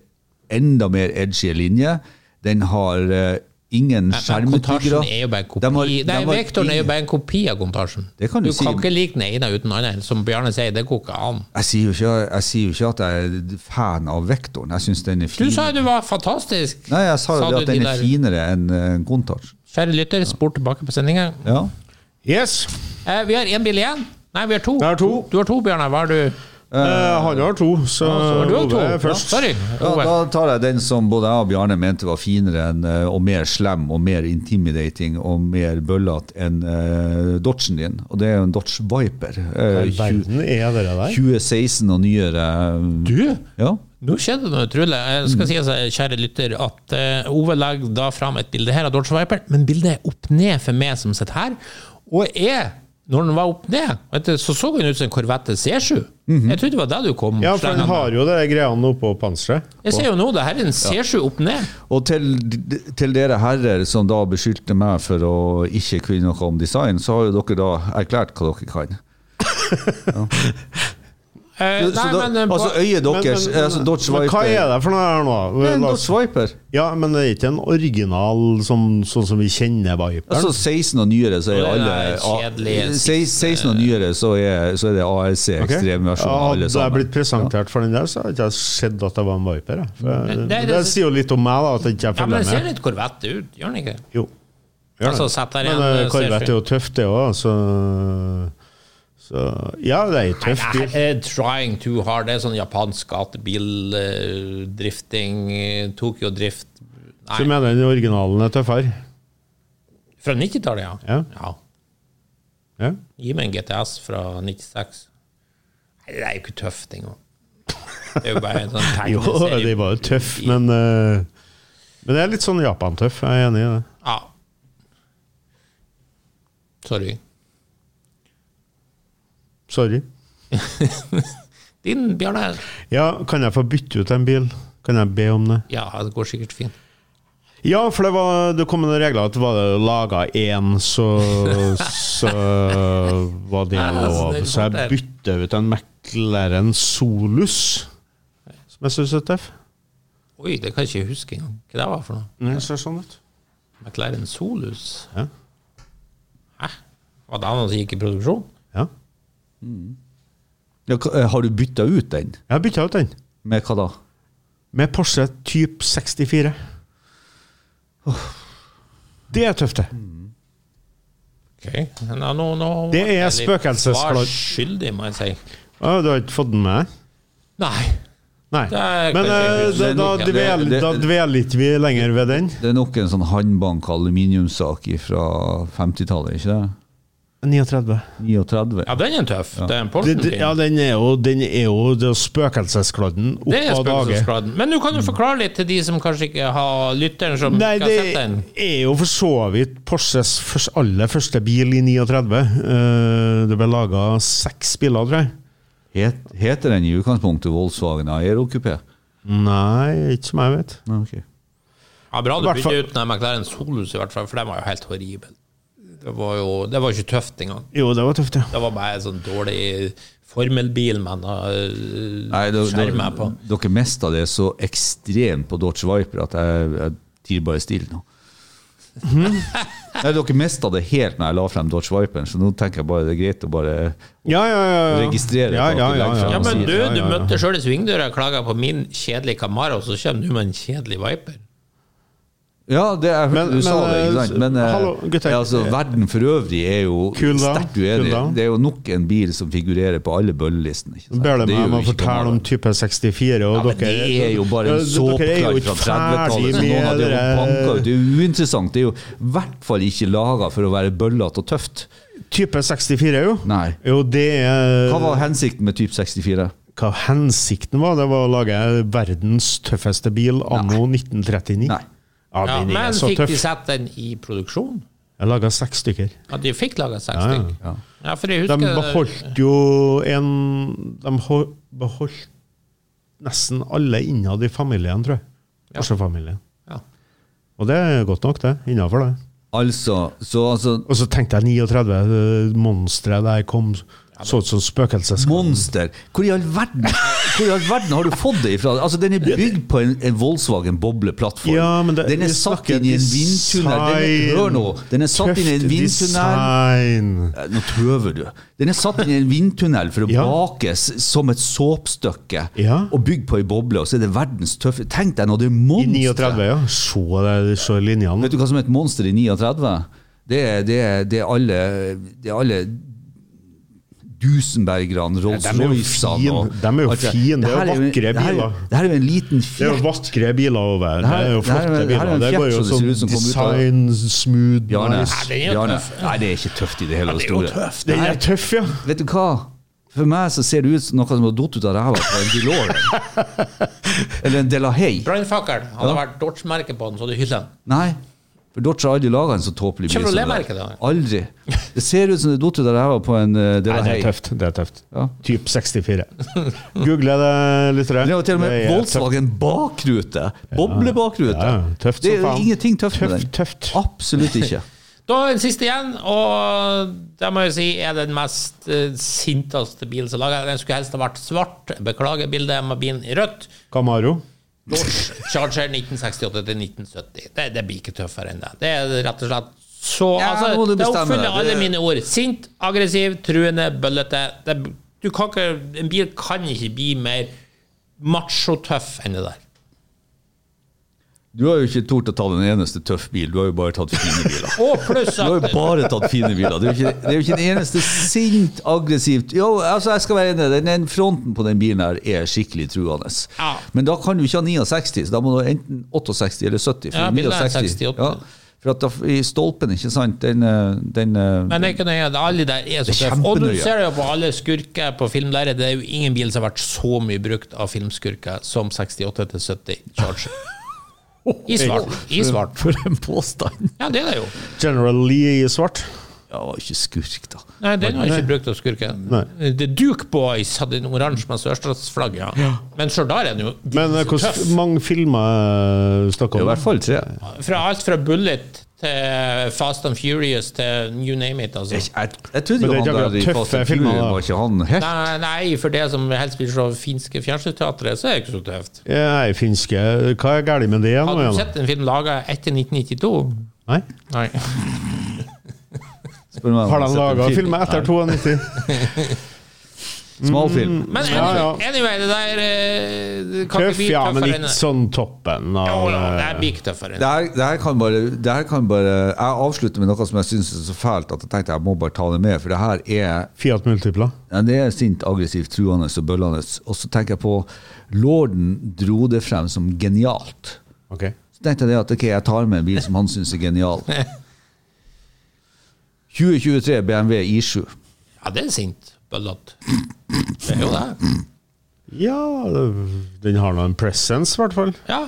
S3: enda mer edgy linjer. Den har eh, ingen
S1: Men
S3: skjermutbyggere.
S1: Kontasjen er jo bare en kopi
S3: De har-
S1: Nei,
S3: de har
S1: Vektoren er jo
S3: ingen-
S1: bare en kopi av Kontasjen.
S3: Det kan du si.
S1: kan ikke like den ene uten den andre. Som Bjarne sier, det går ikke an.
S3: jeg sier, jo ikke, jeg sier jo ikke at jeg er fan av vektoren. Jeg syns den er
S1: Du
S3: fin.
S1: sa jo du var fantastisk!
S3: Nei, jeg sa
S1: du
S3: jo det at
S1: de
S3: den er
S1: der-
S3: finere enn eh, Countach.
S1: Kjære lytter, spor tilbake på sendinga.
S3: Ja.
S4: Yes!
S1: Eh, vi har én bil igjen. Nei, vi har to.
S4: Jeg har to.
S1: Du har to, Bjarne. Hva har du?
S4: Eh, han har to, så
S1: så har du også
S4: Ove
S1: to.
S4: er først.
S1: Ja, sorry.
S3: Ja,
S1: Ove.
S3: da tar jeg den som både jeg og Bjarne mente var finere enn, eh, og mer slem og mer intimidating og mer bøllete enn eh, Dodgen din. Og det er jo en Dodge Viper. eh,
S4: I verden er det der.
S3: 2016 og nyere. eh,
S1: Du?
S3: Ja.
S1: Nå skjedde det noe utrolig. Jeg skal si, altså, kjære lytter, at eh, Ove legger da fram et bilde her av Dodge Viper, men bildet er opp ned for meg som sitter her. Og jeg, når den var opp ned, vet du, så så den ut som en Corvette C7. Jeg trodde det var det du kom
S4: Ja, for han
S1: slengende.
S4: har jo de greiene oppå panseret.
S1: Jeg ser jo nå, det her er en C7 opp ned.
S3: Og til, til dere herrer som da beskyldte meg for å ikke kunne noe om design, så har jo dere da erklært hva dere kan.
S1: Eh,
S3: Så
S1: nei,
S3: da,
S1: men, eh,
S3: altså øyet deres, altså Dodge
S4: men
S3: Viper
S4: hva er det for noe her nå?
S3: Det er en
S4: La oss-
S3: Dodge Viper.
S4: Ja, men det er ikke en original sånn, sånn som vi kjenner Viperen?
S3: Altså 16 og nyere, så er
S1: Og det
S3: alle
S1: der kjedelige
S3: ah, sei- 16 og nyere, så er, så er det ARC
S4: Ok.
S3: ekstremversjon av alle
S4: Hadde jeg
S3: sammen.
S4: blitt presentert for den der, så hadde jeg ikke sett at det var en Viper. jeg. For,
S1: Men
S4: det,
S1: det er det-
S4: sier jo litt om meg, da, at jeg ikke
S1: ja, men
S4: følger
S1: den ser
S4: med.
S1: litt Corvette ut, gjør den ikke?
S4: Jo. Gjør det.
S1: Altså, sett der
S4: men
S1: igjen,
S4: eh, Corvette er jo tøft, det òg. Så, så Ja, det er en tøff
S1: Nei,
S4: bil.
S1: eh, trying too hard. Det er sånn japansk eh, gatebildrifting, Tokyo-drift
S4: Så
S1: Nei,
S4: mener jeg den originalen er tøffere.
S1: fra 90-tallet, ja.
S4: Ja.
S1: ja.
S4: Ja.
S1: Gi meg en GTS fra 96. Nei, det er jo ikke tøft engang. Det er jo bare en sånn
S4: Jo, de
S1: tegneserie.
S4: var jo tøff, men eh, Men det er litt sånn Japan-tøff. Jeg er enig i det.
S1: Ja. Sorry.
S4: Sorry.
S1: Din, Bjarne.
S4: Ja, kan jeg få bytte ut en bil? Kan jeg be om det?
S1: Ja, det går sikkert fint.
S4: Ja, for det, var, det kom noen regler at var det laga én, så, så var det
S1: Nei, altså, det
S4: lov.
S1: er
S4: Så jeg bytter ut en McLaren Solus, som jeg syns er tøff.
S1: Oi, det kan jeg ikke huske engang. Hva det var for noe?
S4: Den ser sånn ut.
S1: McLaren Solus?
S4: Ja.
S1: Hæ? Var det han som gikk i produksjon?
S4: Ja.
S3: Ja, hva- har du bytta ut den?
S4: Jeg har bytta ut den,
S3: Med hva da?
S4: med Porsche Type 64. Det er tøft, det.
S1: Ok. Nå, nå, nå,
S4: Det er
S1: Eller,
S4: spøkelsesglad.
S1: Svar skyldig, må jeg si.
S4: Å, Du har ikke fått den med deg?
S1: Nei.
S4: Nei.
S1: Det er
S4: Men eh,
S1: kanskje-
S4: da, da,
S1: Det-
S4: dvel,
S3: det-
S4: da dveler ikke vi lenger ved den.
S3: Det er nok en sånn håndbank aluminiumssak fra 50-tallet, ikke det?
S4: 39.
S3: 39.
S1: Ja, den er tøff. Det er en
S4: Det,
S1: Porschen
S4: det, ja, den er jo, den er jo det er spøkelseskladden
S1: Det er
S4: opp av dage.
S1: spøkelsesgraden. Men du kan jo forklare litt til de som kanskje ikke har lytteren som
S4: Nei,
S1: ikke
S4: det
S1: har sett den.
S4: er jo for så vidt Porsches først, aller første bil i 39. Eh, det ble laga seks biler, tror jeg.
S3: Het, heter den i utgangspunktet Volkswagen Aerokupé?
S4: Nei, ikke som jeg vet.
S3: Ja, ok.
S1: Ja, bra du
S4: hvert fall-
S1: bytte ut den McLaren Solus, i hvert fall, for den var jo helt horribel. Det var jo det var ikke tøft engang.
S4: Jo, det var tøft, ja.
S1: Det var bare en sånn dårlig formelbil man har øh,
S3: Nei, da- da-
S1: skjerma på.
S3: Dere mista det så ekstremt på Dodge Viper at jeg, jeg tier bare stille nå.
S4: Mhm.
S3: Nei, dere mista det helt når jeg la frem Dodge Viperen, så nå tenker jeg bare det er greit å bare
S4: Ja, ja, ja. ja.
S3: Registrerer
S4: ja, ja,
S3: at du
S4: ja,
S3: legger
S4: ja.
S3: frem
S1: Ja, men
S3: sier-
S1: du,
S4: Ja, ja,
S1: du
S4: ja.
S1: møtte sjøl i svingdøra og klaga på min kjedelige Camaro, så kommer du med en kjedelig Viper.
S3: Ja, det jeg hørte
S4: Men-
S3: du sa
S4: men,
S3: det, ikke sant?
S4: eh,
S3: Men eh,
S4: hallo, gutter.
S3: ja, altså, verden for øvrig er jo
S4: Cool down,
S3: sterkt uenig.
S4: cool down.
S3: det er jo nok en bil som figurerer på alle bøllelistene. ikke sant?
S4: Ber det
S3: Det er
S4: meg
S3: jo
S4: om å
S3: ikke
S4: fortelle om
S3: gammel.
S4: type 64, og
S3: ja, men
S4: dere
S3: Det er jo bare en
S4: Ja, dere er jo
S3: såpekladd
S4: ikke
S3: fra 30-tallet som
S4: ferdig
S3: noen hadde
S4: med
S3: banka
S4: det.
S3: ut. Det er jo uinteressant. Det er jo i hvert fall ikke laga for å være bøllete og tøft.
S4: Type 64, jo.
S3: Nei.
S4: Jo, det er
S3: Hva var hensikten med type 64?
S4: hva hensikten var. Det var å lage verdens tøffeste bil anno 1939.
S3: Nei.
S4: Ja,
S1: Ja,
S4: den er
S1: men
S4: så
S1: fikk
S4: tøff.
S1: de satt den i produksjon?
S4: Jeg laga seks stykker.
S1: Ja, de fikk laga seks
S4: Ja, ja.
S1: stykker. Ja. for jeg
S4: De
S1: husker
S4: beholdt jo en De ho- beholdt nesten alle innad i familien, tror jeg. Porsche-familien.
S1: Ja.
S4: Og det er godt nok, det. Innafor det.
S3: Altså, så altså
S4: Og så tenkte jeg 39, det monsteret der kom så ut som spøkelses...
S3: Monster! Hvor i all verden Hvor i all verden har du fått det ifra? Altså, Den er bygd på en, en Volkswagen bobleplattform.
S4: Ja, men det-
S3: den er
S4: vi
S3: satt
S4: snakker
S3: inn i en vindtunnel. Den er,
S4: design.
S3: hør nå! Den er satt inn i en
S4: Tøft
S3: vindtunnel.
S4: design.
S3: Eh, Nå tøver du. Den er satt inn i en vindtunnel for å
S4: Ja.
S3: bakes som et såpstykke
S4: Ja.
S3: og bygd på ei boble, og så er det verdens tøffe Tenk deg nå, det
S4: I
S3: er monster!
S4: 39, ja. Se, det- se linjene.
S3: Vet du hva som er et monster i 39? Det er, det er, det er alle Det er alle Dusenbergerne,
S4: de er jo
S3: Rolls-Roycene
S4: fin.
S3: og
S4: De er jo
S3: alt det.
S4: fin. Det er jo
S3: her
S4: vakre
S3: det her er-
S4: biler.
S3: Det her er jo en liten
S4: Det er jo
S3: fjert.
S4: vakre biler over. Det
S3: her-
S4: er jo
S3: det her er-
S4: flotte
S3: det her er
S4: biler.
S3: en
S4: Det går jo
S3: fjert som det ser ut
S4: sånn
S3: som kommer ut av-
S4: design, smooth,
S3: Bjarne,
S4: nice.
S1: den er jo
S3: Bjarne,
S1: tøff.
S3: nei, det er ikke tøft i det hele og store.
S4: Den er tøff, ja.
S3: Vet du hva? For meg så ser det ut som noe som har datt ut av ræva på en DeLorean. Eller en Delahaye.
S1: Brannfakkelen hadde vært Dodge-merke på den, så hadde du hylla den.
S3: Nei. For Dodge har aldri laga en så tåpelig bil. som det
S1: Chevrolet-merket,
S3: der.
S1: da?
S3: Aldri. Det ser ut som det datt ut av ræva på en eh,
S4: Nei, det
S3: Delahaye.
S4: er tøft. Det er tøft.
S3: Ja.
S4: Typ 64. Google det, lyttere.
S3: Det var til og med
S4: Det er tøft.
S3: Volkswagen bakrute. Boblebakrute.
S4: Ja, ja, tøft
S3: det er
S4: som
S3: jo
S4: faen.
S3: ingenting tøft, med den.
S4: Tøft, tøft.
S3: Absolutt ikke.
S1: Da er den siste igjen, og det må jeg si er den mest eh, sinteste bilen som er laget. Den skulle helst ha vært svart. Beklager bildet med bilen i rødt.
S4: Camaro.
S1: Dodge Charger 1968 til 1970. Det, det blir ikke tøffere enn det. Det er rett og slett så
S3: Ja, nå må
S1: altså,
S3: du
S1: Det
S3: bestemme
S1: oppfyller
S3: deg. Det-
S1: alle mine ord. Sint, aggressiv, truende, bøllete. Det, du kan ikke, en bil kan ikke bli mer machotøff enn det der.
S3: Du har jo ikke tort å ta den eneste tøff bil, du har jo bare tatt fine biler.
S1: Og pluss
S3: Du har jo
S1: at
S3: bare tatt fine biler. Det er jo ikke, det er jo ikke den eneste sint, aggressivt Jo, altså, jeg skal være enig, den, den fronten på den bilen her er skikkelig truende.
S1: Ja.
S3: Men da kan du ikke ha 69, så da må du ha enten 68 eller 70.
S1: Ja, bilen er
S3: 69,
S1: 68.
S3: ja, for at da, i stolpen, ikke sant, den, eh, den eh,
S1: Men det er ikke nøye. det- Alle der er så
S3: Det er
S1: tøffe. Og du
S3: kjempenøye.
S1: ser det jo på alle skurker på filmlerret. Det er jo ingen bil som har vært så mye brukt av filmskurker som 68 til 70 Charger. I svart. I svart.
S3: For en påstand!
S1: Ja, det er det jo.
S4: General Lee i svart.
S3: Ja, var ikke skurk, da.
S1: Nei, den har jeg ikke brukt av skurken. The Duke Boys hadde en oransje med sørstatsflagg, ja. Men sjøl der er den jo
S4: Men eh,
S1: tøff.
S4: hvordan mange filmer eh,
S3: Det
S4: snakker
S3: er i
S4: om?
S3: hvert fall tre.
S1: Fra alt fra Bullet til Fast and Furious til you name it, altså.
S3: Jeg, jeg, jeg trodde
S4: Men det er
S3: jo han
S4: ikke
S3: der i
S4: akkurat
S3: Fast
S4: tøffe
S3: and
S4: filmer,
S3: Furious
S4: da.
S3: var ikke han helt
S1: Nei, nei, for det som helst vil se finske fjernsynsteatret, så er det ikke så tøft.
S4: Eh, Nei, finske Hva er galt med det nå
S1: Har du
S4: igjen?
S1: sett en film laga etter 1992?
S4: Nei?
S1: Nei.
S3: Spør meg om
S4: Har
S3: han
S4: de
S3: har sett en
S4: laga
S3: film.
S4: filmer etter
S3: Nei,
S4: 92?
S3: Smal film.
S4: Mm.
S1: Men anyway,
S4: Ja,
S1: anyway det der eh, det kan
S4: Tøff,
S1: ikke bli
S4: ja, men
S1: tøffere enn
S4: ikke sånn toppen av eh,
S1: Jo, jo, det blir ikke tøffere enn
S3: Det her, det, her kan bare, det her kan bare Jeg avslutter med noe som jeg syns er så fælt at jeg tenkte jeg må bare ta det med, for det her er
S4: Fiat Multipla.
S3: Ja, det er sint, aggressivt, truende og bøllende. Og så tenker jeg på Lorden dro det frem som genialt.
S4: Ok.
S3: Så tenkte jeg det at ok, jeg tar med en bil som han syns er genial. 2023 BMW I7.
S1: Ja, det er sint. Bøllete. Det er jo det.
S4: Ja, det- den har nå en presence, i hvert fall.
S1: Ja.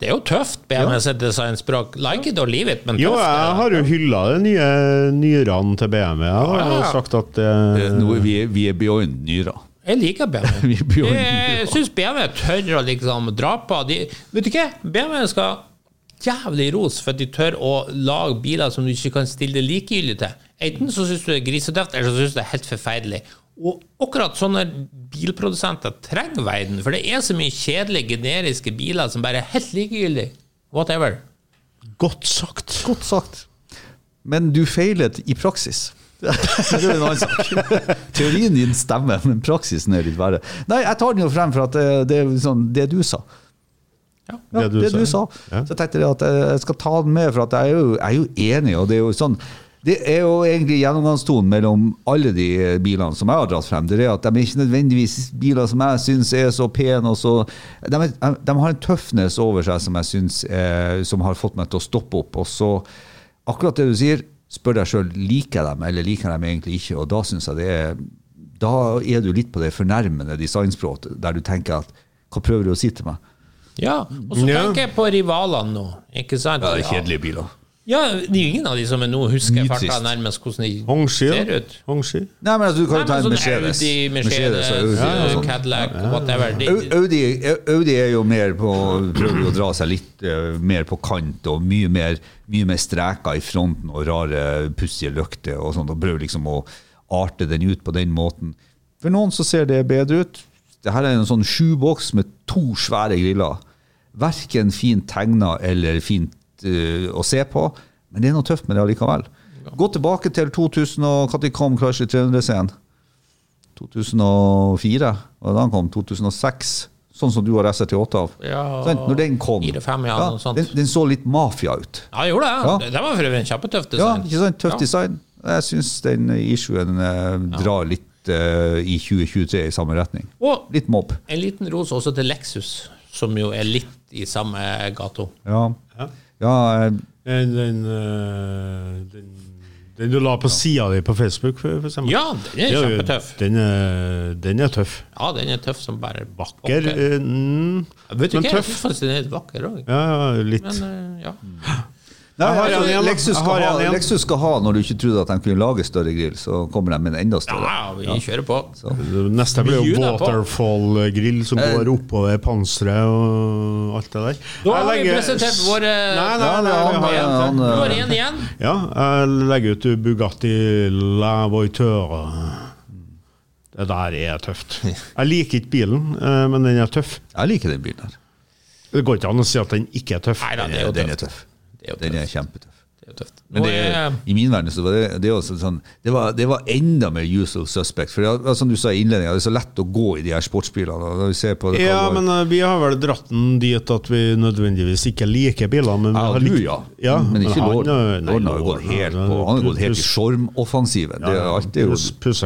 S1: Det er jo tøft, BMS sitt designspråk. Like it or leave it, men
S4: Jo,
S1: tøft.
S4: jeg
S1: er det.
S4: har jo hylla de nye nyrene til BMW. Jeg har jo
S1: Ja.
S4: sagt at eh,
S3: Nå er vi, vi er beyond nyra.
S1: Jeg liker BMW.
S3: Vi er beyond
S1: Jeg
S3: nyra.
S1: syns BMW tør å liksom dra på. De, vet du hva? BMW skal jævlig ros for at de tør å lage biler som du ikke kan stille deg likegyldig til. Enten så syns du det er grisetøft, eller så syns du det er helt forferdelig. Og akkurat sånne bilprodusenter trenger verden, for det er så mye kjedelige, generiske biler som bare er helt likegyldige. Whatever.
S4: Godt sagt.
S3: Godt sagt. Men du feilet i praksis. det er en annen sak. Teorien din stemmer, men praksisen er litt verre. Nei, jeg tar den jo frem for at det, det er sånn, det du sa. Ja, det du, sa.
S4: Ja.
S3: Så jeg tenkte det at jeg skal ta den med, for at jeg er jo, jeg er jo enig. og Det er jo sånn det er jo egentlig gjennomgangstonen mellom alle de bilene som jeg har dratt frem. Det er at De er ikke nødvendigvis biler som jeg syns er så pene. og så, de, er, de har en tøffness over seg som jeg synes, eh, som har fått meg til å stoppe opp. Og så, akkurat det du sier, spør deg sjøl liker jeg dem eller liker jeg dem egentlig ikke. og Da synes jeg det er, da er du litt på det fornærmende designspråket, der du tenker at hva prøver du å si til meg?
S1: Ja, og så
S4: Ja.
S1: tenker jeg på rivalene nå, ikke sant?
S3: Ja, det er kjedelige biler.
S1: Ja, det er jo ingen av de som er nå husker
S3: Nytrist.
S1: farta nærmest hvordan de
S4: Hongshi,
S1: ser
S4: da.
S1: ut.
S4: Hongshi.
S3: Nei, men altså, du kan jo ta
S1: Nei,
S3: en
S1: men sånn
S3: Mercedes.
S1: Audi, Mercedes,
S3: og Audi, og sånn.
S1: Cadillac, whatever. De,
S3: Au- Audi, Audi er jo mer på prøver jo å dra seg litt eh, mer på kant og mye mer, mye mer streker i fronten og rare pussige løkter og sånt, og prøver liksom å arte den ut på den måten. For noen så ser det bedre ut. Dette er en sånn sjuboks med to svære griller. Verken fint tegna eller fint eh, å se på, men det er noe tøft med det allikevel. Gå tilbake til 2000 og når kom Crush 300-scenen. 2004, og da han kom 2006, sånn som du har SR-8 av.
S1: Ja,
S3: Sant? Når den kom,
S1: 4-5, ja, noe sånt.
S3: den, den så litt mafia ut.
S1: ja, gjorde det.
S3: Ja.
S1: Det- Det var for øvrig en kjempetøff
S3: Ja,
S1: design.
S3: ikke sant? Tøff
S1: Ja.
S3: design. Jeg syns den issuen eh, drar litt eh, i 2023 i samme retning.
S1: Og
S3: Litt mobb.
S1: en liten ros også til Lexus, som jo er litt i samme gato.
S3: Ja. ja eh,
S4: Den, den, eh, den, den du la på sida di på Facebook, for, for eksempel.
S1: Ja, den er
S4: Det jo-
S1: kjempetøff.
S4: Den er, den er tøff.
S1: Ja, den er tøff som bare
S4: Ger,
S1: bakker.
S4: eh, mm,
S1: Vet du hva, jeg
S4: men tøff.
S1: synes faktisk den er litt vakker òg.
S4: ja, ja, litt.
S1: Men eh, ja.
S3: Nei,
S4: Jeg har
S3: altså,
S4: en igjen, da.
S3: Lexus,
S4: Jeg
S3: skal
S4: har
S3: ha,
S4: en igjen.
S3: Lexus skal ha, når du ikke trodde at de kunne lage større grill, så kommer de med en enda større.
S1: ja, vi kjører på. eh,
S4: Neste
S1: Vi
S4: blir jo
S1: juler på.
S4: waterfall-grill som
S3: Eh.
S4: går oppover panseret og alt det der.
S1: Da har
S4: Jeg
S1: vi
S4: legger-
S1: presentert våre-
S4: Nei, nei,
S3: Ja,
S4: nei,
S3: det er
S4: vi har
S3: han,
S4: en til.
S3: han,
S1: Du
S3: eh,
S1: har én igjen.
S4: Ja, jeg legger ut Bugatti La Voiture.
S3: Mm.
S4: Det der er tøft. Jeg liker ikke bilen, eh, men den er tøff.
S3: Jeg liker den bilen her.
S4: Det går ikke an å si at den ikke er tøff.
S1: Nei da, det er jo
S3: Den er
S1: tøft.
S3: tøff.
S1: Det er jo
S3: Den
S1: tøft.
S3: er kjempetøff.
S1: Det er jo tøft. eh,
S3: Men
S1: Nå
S3: det,
S1: er
S3: i min verden så var det, det, er også sånn, det, var, det var enda mer usual suspect. For det, var- som du sa i innledningen, det er så lett å gå i de her sportsbilene. og Når vi ser på det, hva
S4: Ja,
S3: det var-
S4: men eh, vi har vel dratt den dit at vi nødvendigvis ikke liker biler, men vi
S3: ja,
S4: har
S3: du,
S4: likt-
S3: ja. Mm,
S4: ja.
S3: Men ikke
S4: han,
S3: Lorden.
S4: nei,
S3: Lorden har jo gått
S4: Lorden,
S3: helt
S4: ja,
S3: på Han har gått helt i
S4: pus-
S3: stormoffensiven. Det er alltid jo
S4: pus-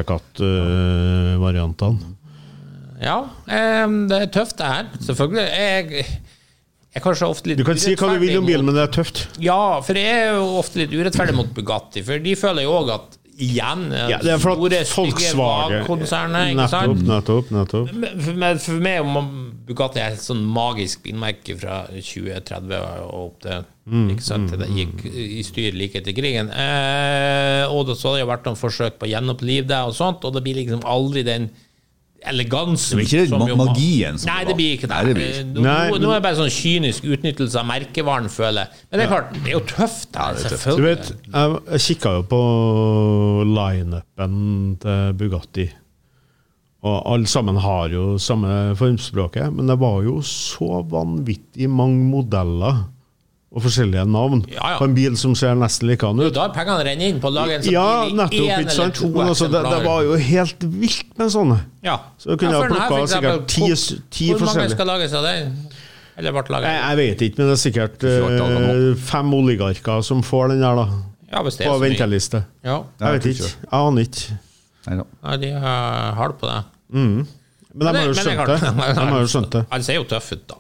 S4: Pussekatt-variantene.
S1: Ja, em, det er tøft det her, selvfølgelig. Jeg, jeg er kanskje ofte litt
S4: Du kan si hva du vil
S1: urettferdig
S4: om bilen,
S1: mot-
S4: men det er tøft.
S1: Ja, for jeg er jo ofte litt urettferdig mot Bugatti, for de føler jo òg at igjen eh,
S4: Ja, det er for
S1: store,
S4: at folk
S1: stygge
S4: svake
S1: konsernet, ikke
S4: Nettopp,
S1: sant?
S4: nettopp, nettopp.
S1: Men for meg- for meg er Bugatti er et sånn magisk bilmerke fra 2030 og opp til Ikke sant? Det gikk i styr like etter krigen. Eh, og da så har det jo vært noen forsøk på å gjenopplive det, og sånt, og det blir liksom aldri den elegansen
S3: Det blir ikke den
S1: som jo-
S3: magien som
S1: Nei,
S3: det
S1: det
S3: var.
S1: blir ikke det.
S3: Nei, det blir ikke.
S1: Eh, Nå,
S4: Nei,
S1: nå
S4: men-
S1: er det bare sånn kynisk utnyttelse av merkevaren, føler jeg. Men det er klart, det er jo tøft. da,
S4: Du
S1: selvfølgelig.
S4: vet, jeg, jeg kikka jo på lineupen til Bugatti. Og alle sammen har jo samme formspråket, men det var jo så vanvittig mange modeller og forskjellige navn
S1: Ja, ja.
S4: på en bil som ser nesten likedan
S1: Det er
S4: ut.
S1: jo da pengene renner inn på å lage en sånn
S4: Ja,
S1: bil i
S4: nettopp.
S1: en
S4: ikke
S1: eller
S4: sant?
S1: to
S4: Men altså, det, det
S1: eksemplarer.
S4: var jo helt vilt med sånne.
S1: Ja.
S4: Så du kunne
S1: ja,
S4: ha
S1: for den her,
S4: plukket
S1: for eksempel,
S4: sikkert ti-
S1: hvor-
S4: ti
S1: Hvor mange
S4: forskjellige.
S1: skal lages av den? Eller ble
S4: Jeg,
S1: laget?
S4: jeg vet ikke, men det er sikkert eh, fem oligarker som får den der, da.
S1: Ja, hvis det er så
S4: På
S1: mye.
S4: venteliste.
S1: Ja,
S4: Jeg vet
S3: jeg
S4: ikke.
S3: tror
S4: Jeg aner ikke.
S3: Nei, da.
S1: Nei, de eh, har hardt på det.
S4: Men de har jo skjønt det. De har jo skjønt det.
S1: Han ser jo tøff ut, da.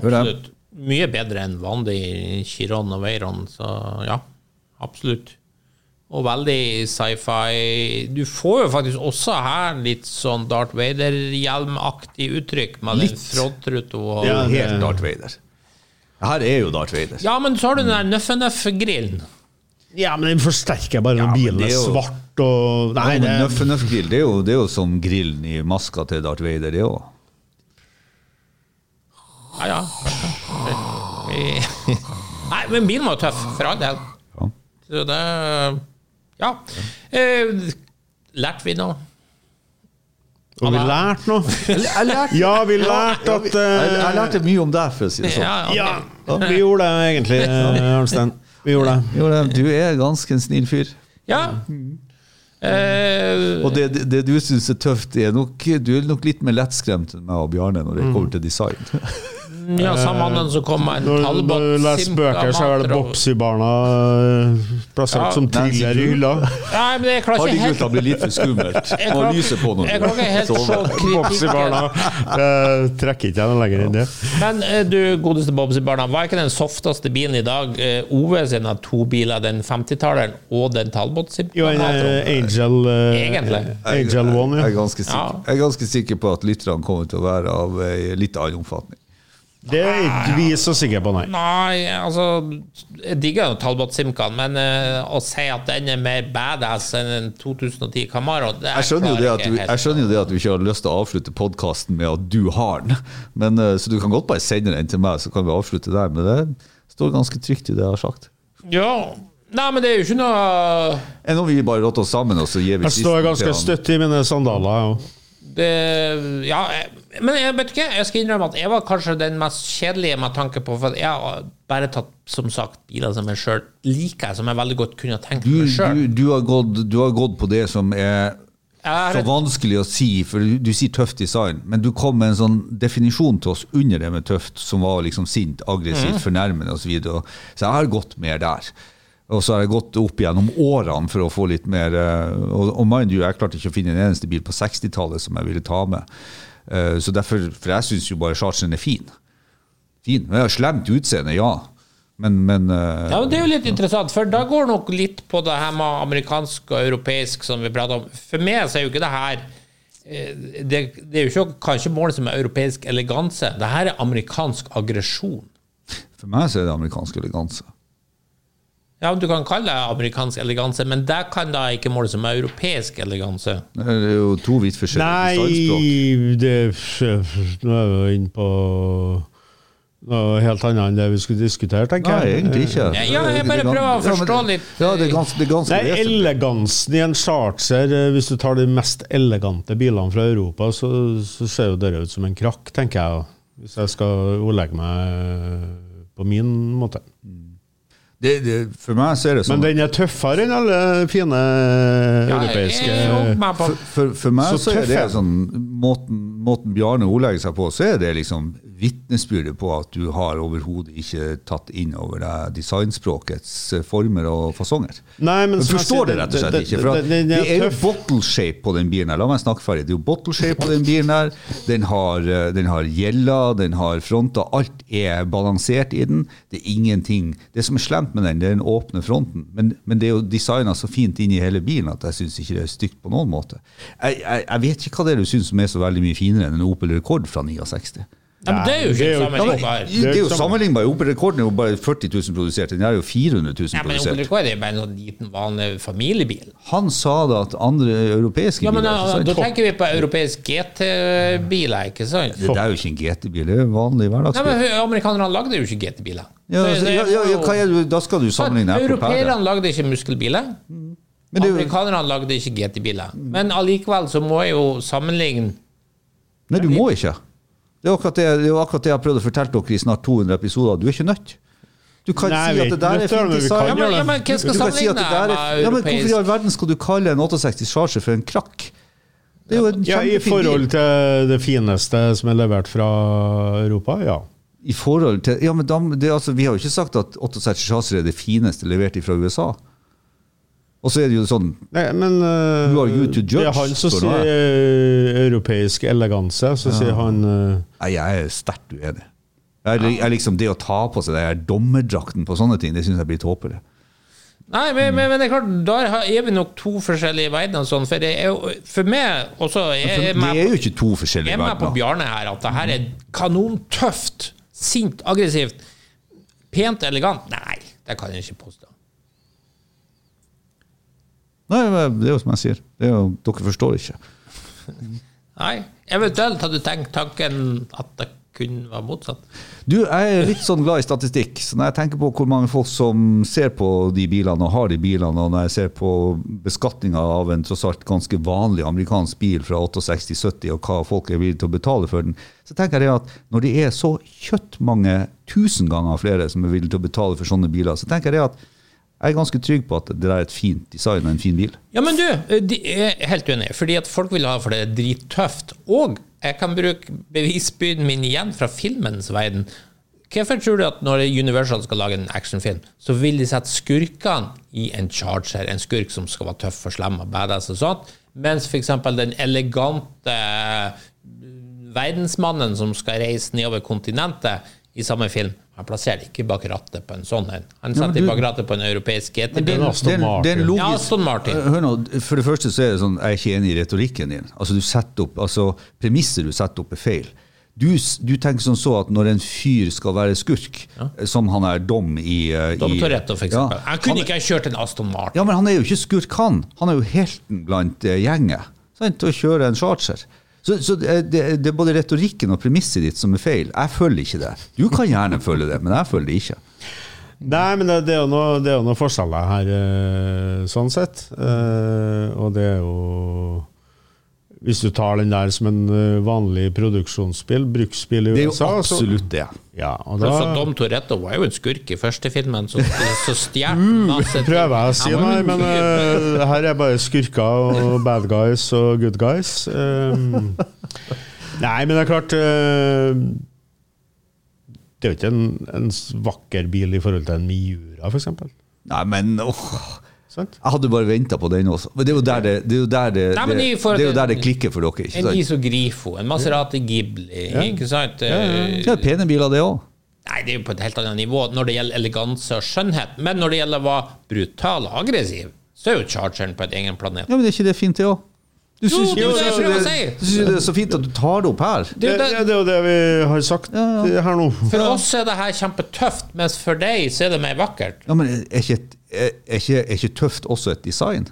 S3: Gjør det.
S1: Absolutt. Mye bedre enn vanlig Chiron og Veyron, så ja, absolutt. Og veldig sci-fi. Du får jo faktisk også her litt sånn Darth Vader-hjelmaktig uttrykk med den frontruta og
S4: Ja, det-
S3: Helt Darth Vader. Det her er jo Darth Vader.
S1: Ja, men så har du den der Nøff-Nøff-grillen.
S4: Ja, men den forsterker bare når
S3: men
S4: bilen
S3: det
S4: er
S3: er jo-
S4: svart og Nei,
S3: Ja,
S4: det
S3: men Nøff Nøff Grill, det er, jo, det er jo som grillen i maska til Darth Vader, det òg.
S1: Ja, ja. Vi- Nei, men bilen var jo tøff, for all del.
S3: Ja.
S1: Så det Ja. Eh, lærte vi noe?
S4: Har vi lært noe?
S3: Jeg lærte,
S4: Ja, vi lærte at
S3: jeg,
S4: eh,
S3: jeg lærte mye om deg, for å si det sånn.
S1: Ja,
S4: Ja, vi gjorde det egentlig, eh, Arnstein. Vi gjorde det.
S3: Jo, det- du er ganske en snill fyr.
S1: Ja. Eh,
S3: Og det, det, det du syns er tøft, det er nok Du er nok litt mer lettskremt enn meg og Bjarne når
S1: Mm.
S3: det kommer til design.
S1: Altså, ja, samme mannen som kom med en
S4: eh, Når,
S1: Talbot
S4: når du leser
S1: Simca
S4: bøker, så er det
S1: Matra og-
S4: Bopsi-barna eh, plassert
S1: Ja,
S4: som
S3: Nancy
S4: thriller i
S3: Drew.
S4: hylla.
S1: Nei, men jeg klarer ikke helt
S3: Hardigutta blir litt for skummelt.
S1: Jeg
S3: Må
S1: kan-
S3: lyse på noe.
S1: jeg kan ikke helt sånn.
S3: Så-
S1: se kritikken.
S4: Bopsi-barna eh, trekker ikke jeg noe lenger enn det.
S1: Men eh, du, godeste Bobsy-barna, var ikke den softeste bilen i dag eh, Ove sin av to biler, den 50-talleren og den Talbot Simca
S4: Jo, en eh,
S1: Matra?
S4: Angel eh,
S1: Egentlig.
S4: Angel One,
S3: Jeg er
S4: ja.
S3: ganske sikker, jeg er ganske sikker på at lytterne kommer til å være av eh, litt annen omfatning.
S4: Det er ikke vi så sikre på, nei.
S1: Nei, altså Jeg digger jo Talbot Simcan, men eh, å si at den er mer badass enn en 2010 Camaro det
S3: Jeg skjønner, jo det
S1: klarer
S3: at
S1: jeg
S3: du,
S1: helt.
S3: jeg skjønner jo det at du ikke har lyst til å avslutte podkasten med at du har den, men, eh, så du kan godt bare sende den til meg, så kan vi avslutte der. Men det står ganske trygt i det jeg har sagt.
S1: Ja. Nei, men det er jo ikke noe
S3: Enn om vi bare rotter oss sammen, og så gir vi
S4: Jeg står ganske støtt i mine sandaler. jeg også.
S1: det, ja, jeg- men jeg vet ikke, jeg skal innrømme at jeg var kanskje den mest kjedelige med tanke på For jeg har bare tatt, som sagt, biler som jeg sjøl liker, som jeg veldig godt kunne ha tenkt
S3: Du,
S1: meg sjøl.
S3: du, du, har gått, du har gått på det som er
S1: Jeg
S3: så
S1: er-
S3: vanskelig å si, for du, du sier tøft design, men du kom med en sånn definisjon til oss under det med tøft, som var liksom sint,
S1: Mhm.
S3: aggressivt, fornærmende osv. Så, videre. så jeg har gått mer der. Og så har jeg gått opp gjennom årene for å få litt mer eh, Og, og mind you, jeg klarte ikke å finne en eneste bil på 60-tallet som jeg ville ta med. Eh, Så derfor, For jeg syns jo bare Chargeren er fin. Fin. Men jeg har slemt utseende, ja. Men, men eh,
S1: Ja, men Det er jo litt interessant, for da går nok litt på det her med amerikansk og europeisk som vi prater om. For meg så er jo ikke det her eh, Det, det er jo ikke, kanskje målet som er europeisk eleganse. Det her er amerikansk aggresjon.
S3: for meg så er det amerikansk eleganse.
S1: Ja, du kan kalle det amerikansk eleganse, men det kan da ikke måles som europeisk eleganse.
S3: Det er jo to vidt forskjellige
S4: Nei,
S3: designspråk.
S4: det Nå er vi jo inne på noe helt annet enn det vi skulle diskutere, tenker
S3: Nei,
S4: jeg.
S3: egentlig ikke.
S1: Nei, ja, jeg bare prøver å
S3: Ja, men-
S1: forstå litt.
S3: Ja, det er ganske, det er ganske
S4: Det er
S3: vesentlig.
S4: elegansen i en charger. eh, Hvis du tar de mest elegante bilene fra Europa, så, så ser jo dere ut som en krakk, tenker jeg. Hvis jeg skal ordlegge meg eh, på min måte.
S3: Det, det, for meg så er det sånn
S4: Men den er tøffere enn alle fine europeiske
S1: Jeg er jo med på
S3: for, for, for meg
S4: Så
S3: så, er
S4: tøff
S3: det
S4: er den.
S3: sånn måten, måten Bjarne ordlegger seg på, så er det liksom vitnesbyrdet på at du har overhodet ikke tatt inn over deg designspråkets eh, former og fasonger.
S4: Nei, men
S3: Du
S4: som jeg sier,
S3: forstår det rett og slett
S4: det-
S3: ikke. For
S4: det- det-
S3: at det
S4: det er
S3: er jo
S4: tøff.
S3: bottle shape på den bilen her. La meg snakke ferdig. Det er jo bottle shape på den bilen her. Den har, eh, den har gjeller, den har fronter. Alt er balansert i den. Det er ingenting. Det som er slemt med den, det er den åpne fronten. Men, men det er jo designa så fint inn i hele bilen at jeg syns ikke det er stygt på noen måte. Jeg, jeg, jeg vet ikke hva det er du syns som er så veldig mye finere enn en Opel Rekord fra 69.
S1: Ja, men det er jo ikke
S4: Nei, det er jo-
S1: sammenlignbar.
S4: Ja,
S3: Det er jo
S4: Samme-
S3: sammenlignbar. Opel-rekorden er jo bare 40 000 produsert. Den er jo 400
S1: Nei,
S3: 000
S1: men
S3: produsert.
S1: Opel Rekord er jo bare en sånn liten, vanlig familiebil.
S3: Han sa da at andre europeiske
S1: Ja, men
S3: biler
S1: da,
S3: så sa han,
S1: da
S3: «Topp,
S1: tenker vi på europeiske GT-biler, ikke sant?
S3: Det der er jo ikke en GT-bil, det er en vanlig
S1: Nei,
S3: hverdagsbil.
S1: men Amerikanerne lagde jo ikke GT-biler.
S3: Ja, altså, ja, ja, ja, hva er det, da skal du sammenligne epler og pærer.
S1: Europeerne lagde ikke muskelbiler.
S3: Men det er jo-
S1: Amerikanerne lagde ikke GT-biler. Men allikevel så må jeg jo sammenligne
S3: Nei, du må ikke. Det er akkurat det, det er jo akkurat det jeg har prøvd å fortelle dere i snart 200 episoder. Du er ikke nødt. Du kan
S4: Nei,
S3: si
S4: vi
S3: at
S4: er
S3: det
S4: ikke
S3: der er
S4: nødt til det,
S3: fint
S4: men vi
S3: design.
S4: kan
S1: Ja, men, ja, men hvem skal
S3: Du kan si at
S1: sammenligne
S3: det der er,
S1: med
S3: ja, men hvorfor i
S1: europeisk
S3: all verden skal du kalle en 860 Charger for en krakk? Det er jo en
S4: Ja, I
S3: kjempefin
S4: forhold
S3: bil.
S4: til det fineste som er levert fra Europa, ja.
S3: I forhold til Ja, men da, det, er altså, vi har jo ikke sagt at 860 Charger er det fineste levert fra USA. Og så er det jo sånn
S4: Nei, men eh,
S3: You are you to judge,
S4: Det er han som
S3: står det
S4: sier eh, europeisk eleganse, så sier han eh,
S3: Nei, jeg er sterkt uenig. Jeg, jeg, liksom, det å ta på seg det her dommerdrakten på sånne ting, det syns jeg blir tåpelig.
S1: Nei, men, men, men det er klart, der har- er vi nok to forskjellige verdener. og Sånn, for, det er jo, for meg også
S3: For
S1: jeg, jeg,
S3: Det er jo ikke to
S1: Jeg
S3: forskjellige
S1: er med på
S3: verdener.
S1: Bjarne her at det her er kanontøft, sint, aggressivt, pent, elegant. Nei, det kan jeg ikke påstå.
S3: Nei, men det er jo som jeg sier. Det er jo, dere forstår ikke.
S1: Nei, eventuelt hadde du tenkt tanken at det kun var motsatt.
S3: Du, jeg er litt sånn glad i statistikk, så når jeg tenker på hvor mange folk som ser på de bilene og har de bilene, og når jeg ser på beskatninga av en tross alt ganske vanlig amerikansk bil fra 68-70, og hva folk er villige til å betale for den, så tenker jeg det at når det er så kjøttmange tusen ganger flere som er villige til å betale for sånne biler, så tenker jeg det at jeg er ganske trygg på at det der er et fint design og en fin bil.
S1: Ja, men du, eh, de jeg er helt uenig, fordi at folk vil ha for det er drittøft. Og jeg kan bruke bevisbyrden min igjen fra filmens verden. Hvorfor tror du at når Universal skal lage en actionfilm, så vil de sette skurkene i en charger, en skurk som skal være tøff og slem og badass og sånt, mens f.eks. den elegante eh, verdensmannen som skal reise nedover kontinentet i samme film, han plasserer ikke bak rattet på en sånn en. Han setter
S3: du-
S1: bak rattet på en europeisk
S4: det er
S1: GT-bil.
S4: en Aston
S3: Det er en- det er en
S4: Martin.
S3: logisk- Eh,
S1: Ja, Aston Martin.
S3: Hør nå, for det første så er det sånn, jeg er ikke enig i retorikken din. Altså, du setter opp, altså, premisser du setter opp er feil. Du, s- du tenker sånn så at når en fyr skal være skurk, eh, som han er dom i... eh,
S1: Dom
S3: i-
S1: Toretto, for
S3: Ja,
S1: eksempel. Han kunne
S3: han-
S1: ikke ha kjørt en Aston Martin.
S3: Ja, men han er jo ikke skurk, han. Han er jo helten blant eh, gjengen. Sant? Å kjøre en charger. Så, så det, er- det, er- det er både retorikken og premisset ditt som er feil. Jeg følger ikke det. Du kan gjerne følge det, men jeg følger det ikke.
S4: Nei, men det, det er jo noe- det er jo noen forskjeller her, eh, sånn sett. Eh, og det er jo Hvis du tar den der som en eh, vanlig produksjonsbil, bruksbil i
S3: Det er
S4: USA
S3: jo
S4: så-
S3: absolutt det.
S4: ja, og da,
S1: Altså, Dom Toretto var jo en skurk i første filmen, så, så stjal han masse ting.
S4: Uh, prøver jeg å si
S1: Han
S4: noe,
S1: var jo
S4: her,
S1: en
S4: men eh, her er bare skurker og bad guys og good guys. Um, nei, men det er klart eh, Det er jo ikke en, en s- vakker bil i forhold til en Miura, f.eks.
S3: Nei, men åh.
S4: Sant?
S3: Jeg hadde bare venta på den også. Men det er jo der det, det, er jo der det,
S1: Nei, men i
S3: det,
S1: forhold
S3: det, er jo
S1: til-
S3: der det klikker for dere. ikke
S1: En
S3: sant?
S1: Iso Grifo, en Maserati Ghibli, ikke sant?
S3: Det er pene biler, det òg.
S1: Nei, det er jo på et helt annet nivå når det gjelder eleganse og skjønnhet. Men når det gjelder å være brutal og aggressiv, så er jo chargeren på et egen planet.
S3: Ja, men er ikke det fint, det òg? Du syns
S1: det er
S3: jo
S1: det jeg
S3: du
S1: prøver å
S3: syns
S1: si.
S3: det, du syns jo det er så fint at du tar det opp her.
S1: Det
S4: Det,
S1: er jo
S4: det,
S1: det-
S4: det er jo det vi har sagt eh, her nå.
S1: For oss er det her kjempetøft, mens for deg så er det mer vakkert.
S3: Ja, men er ikke, et- er, er ikke, er ikke tøft også et design?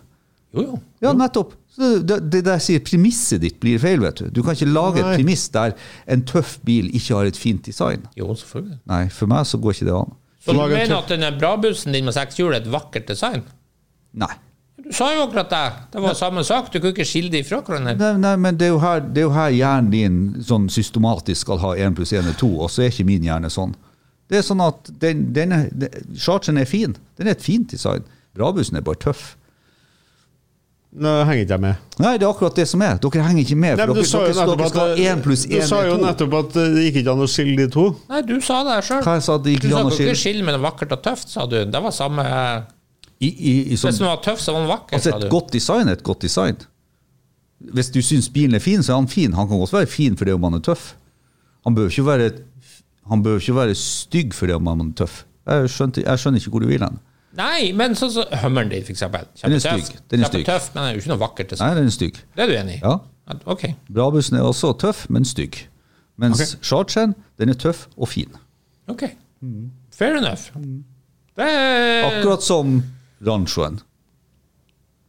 S1: Jo, jo.
S3: Ja, nettopp. Så det, det der sier premisset ditt blir feil, vet du. Du kan ikke lage et
S4: Nei.
S3: premiss der en tøff bil ikke har et fint design.
S1: Jo, selvfølgelig.
S3: Nei, for meg så går ikke det an.
S1: Så du
S4: Lag en
S1: mener
S4: tøff-
S1: at denne brabussen din med seks hjul er et vakkert design?
S3: Nei.
S1: Du sa jo akkurat det. Det var samme sak. Du kunne ikke skille de fra hverandre.
S3: Nei, nei, men det er, jo her, det er jo her hjernen din sånn systematisk skal ha 1 pluss 1 er 2, og så er ikke min hjerne sånn. Det er sånn at den, den, er- den, Chargeren er fin. Den er et fint design. Brabussen er bare tøff.
S4: Nå henger ikke jeg med.
S3: Nei, det er akkurat det som er. Dere henger ikke med.
S4: Nei,
S3: For
S4: men du
S3: dere,
S4: sa jo
S3: dere,
S4: nettopp
S3: dere
S4: at,
S3: skal ha 1 pluss
S4: du
S3: 1
S4: sa jo
S3: er 2.
S4: nettopp at det gikk ikke an å skille de to.
S1: Nei, du sa det sjøl.
S3: Hva jeg sa at det gikk
S1: Du sa
S3: an å
S1: du
S3: skille?
S1: kunne skille mellom vakkert og tøft, sa du. Det var samme
S3: I, i, i
S1: Hvis
S3: sånn,
S1: den var tøff, så var den vakker,
S3: altså
S1: sa
S3: et
S1: du.
S3: godt design er et godt design. Hvis du syns bilen er fin, så er han fin. Han kan godt være fin fordi om han er tøff. Han bør ikke være, han bør ikke være stygg fordi om han er tøff. Jeg, skjønte, jeg skjønner ikke hvor du vil hen.
S1: Nei, men sånn som Hummeren din, for eksempel.
S3: Den er
S1: Kjempetøff.
S3: stygg. Den er stygg.
S1: Kjempetøff, men den er jo ikke noe vakkert. til seg.
S3: Nei, den er stygg.
S1: Det er du enig i?
S3: Ja.
S1: At- Ok.
S3: Brabussen er også tøff, men stygg. Mens shortsen, den er tøff og fin.
S1: Ok. Fair enough. Det er
S3: Mm. Akkurat som ranchoen.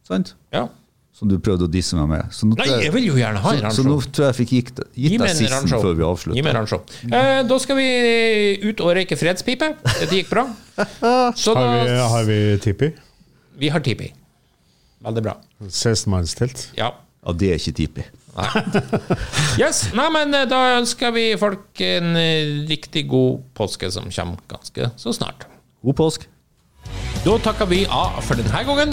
S3: Sant?
S1: ja.
S3: Som du prøvde å disse meg med. Så nå
S1: Nei,
S3: tror
S1: jeg vil jo gjerne ha en
S3: så, så nå
S1: rancho.
S3: tror jeg jeg fikk gitt,
S1: Gi
S3: gitt
S1: meg
S3: deg
S1: en
S3: sisten
S1: rancho.
S3: før vi
S1: Gi meg
S3: avslutter. Mm.
S1: en rancho. Eh, da skal vi ut og røyke fredspipe. Dette gikk bra. Så da
S4: Har vi, har vi tippi?
S1: Vi har tipi. Veldig bra.
S4: Sekstenmannstelt?
S1: Ja.
S3: Ja, det er ikke tipi.
S1: Yes. Nei, men eh, da ønsker vi folk en eh, riktig god påske som kommer ganske så snart.
S3: God påsk.
S1: Da takker vi av for denne gangen.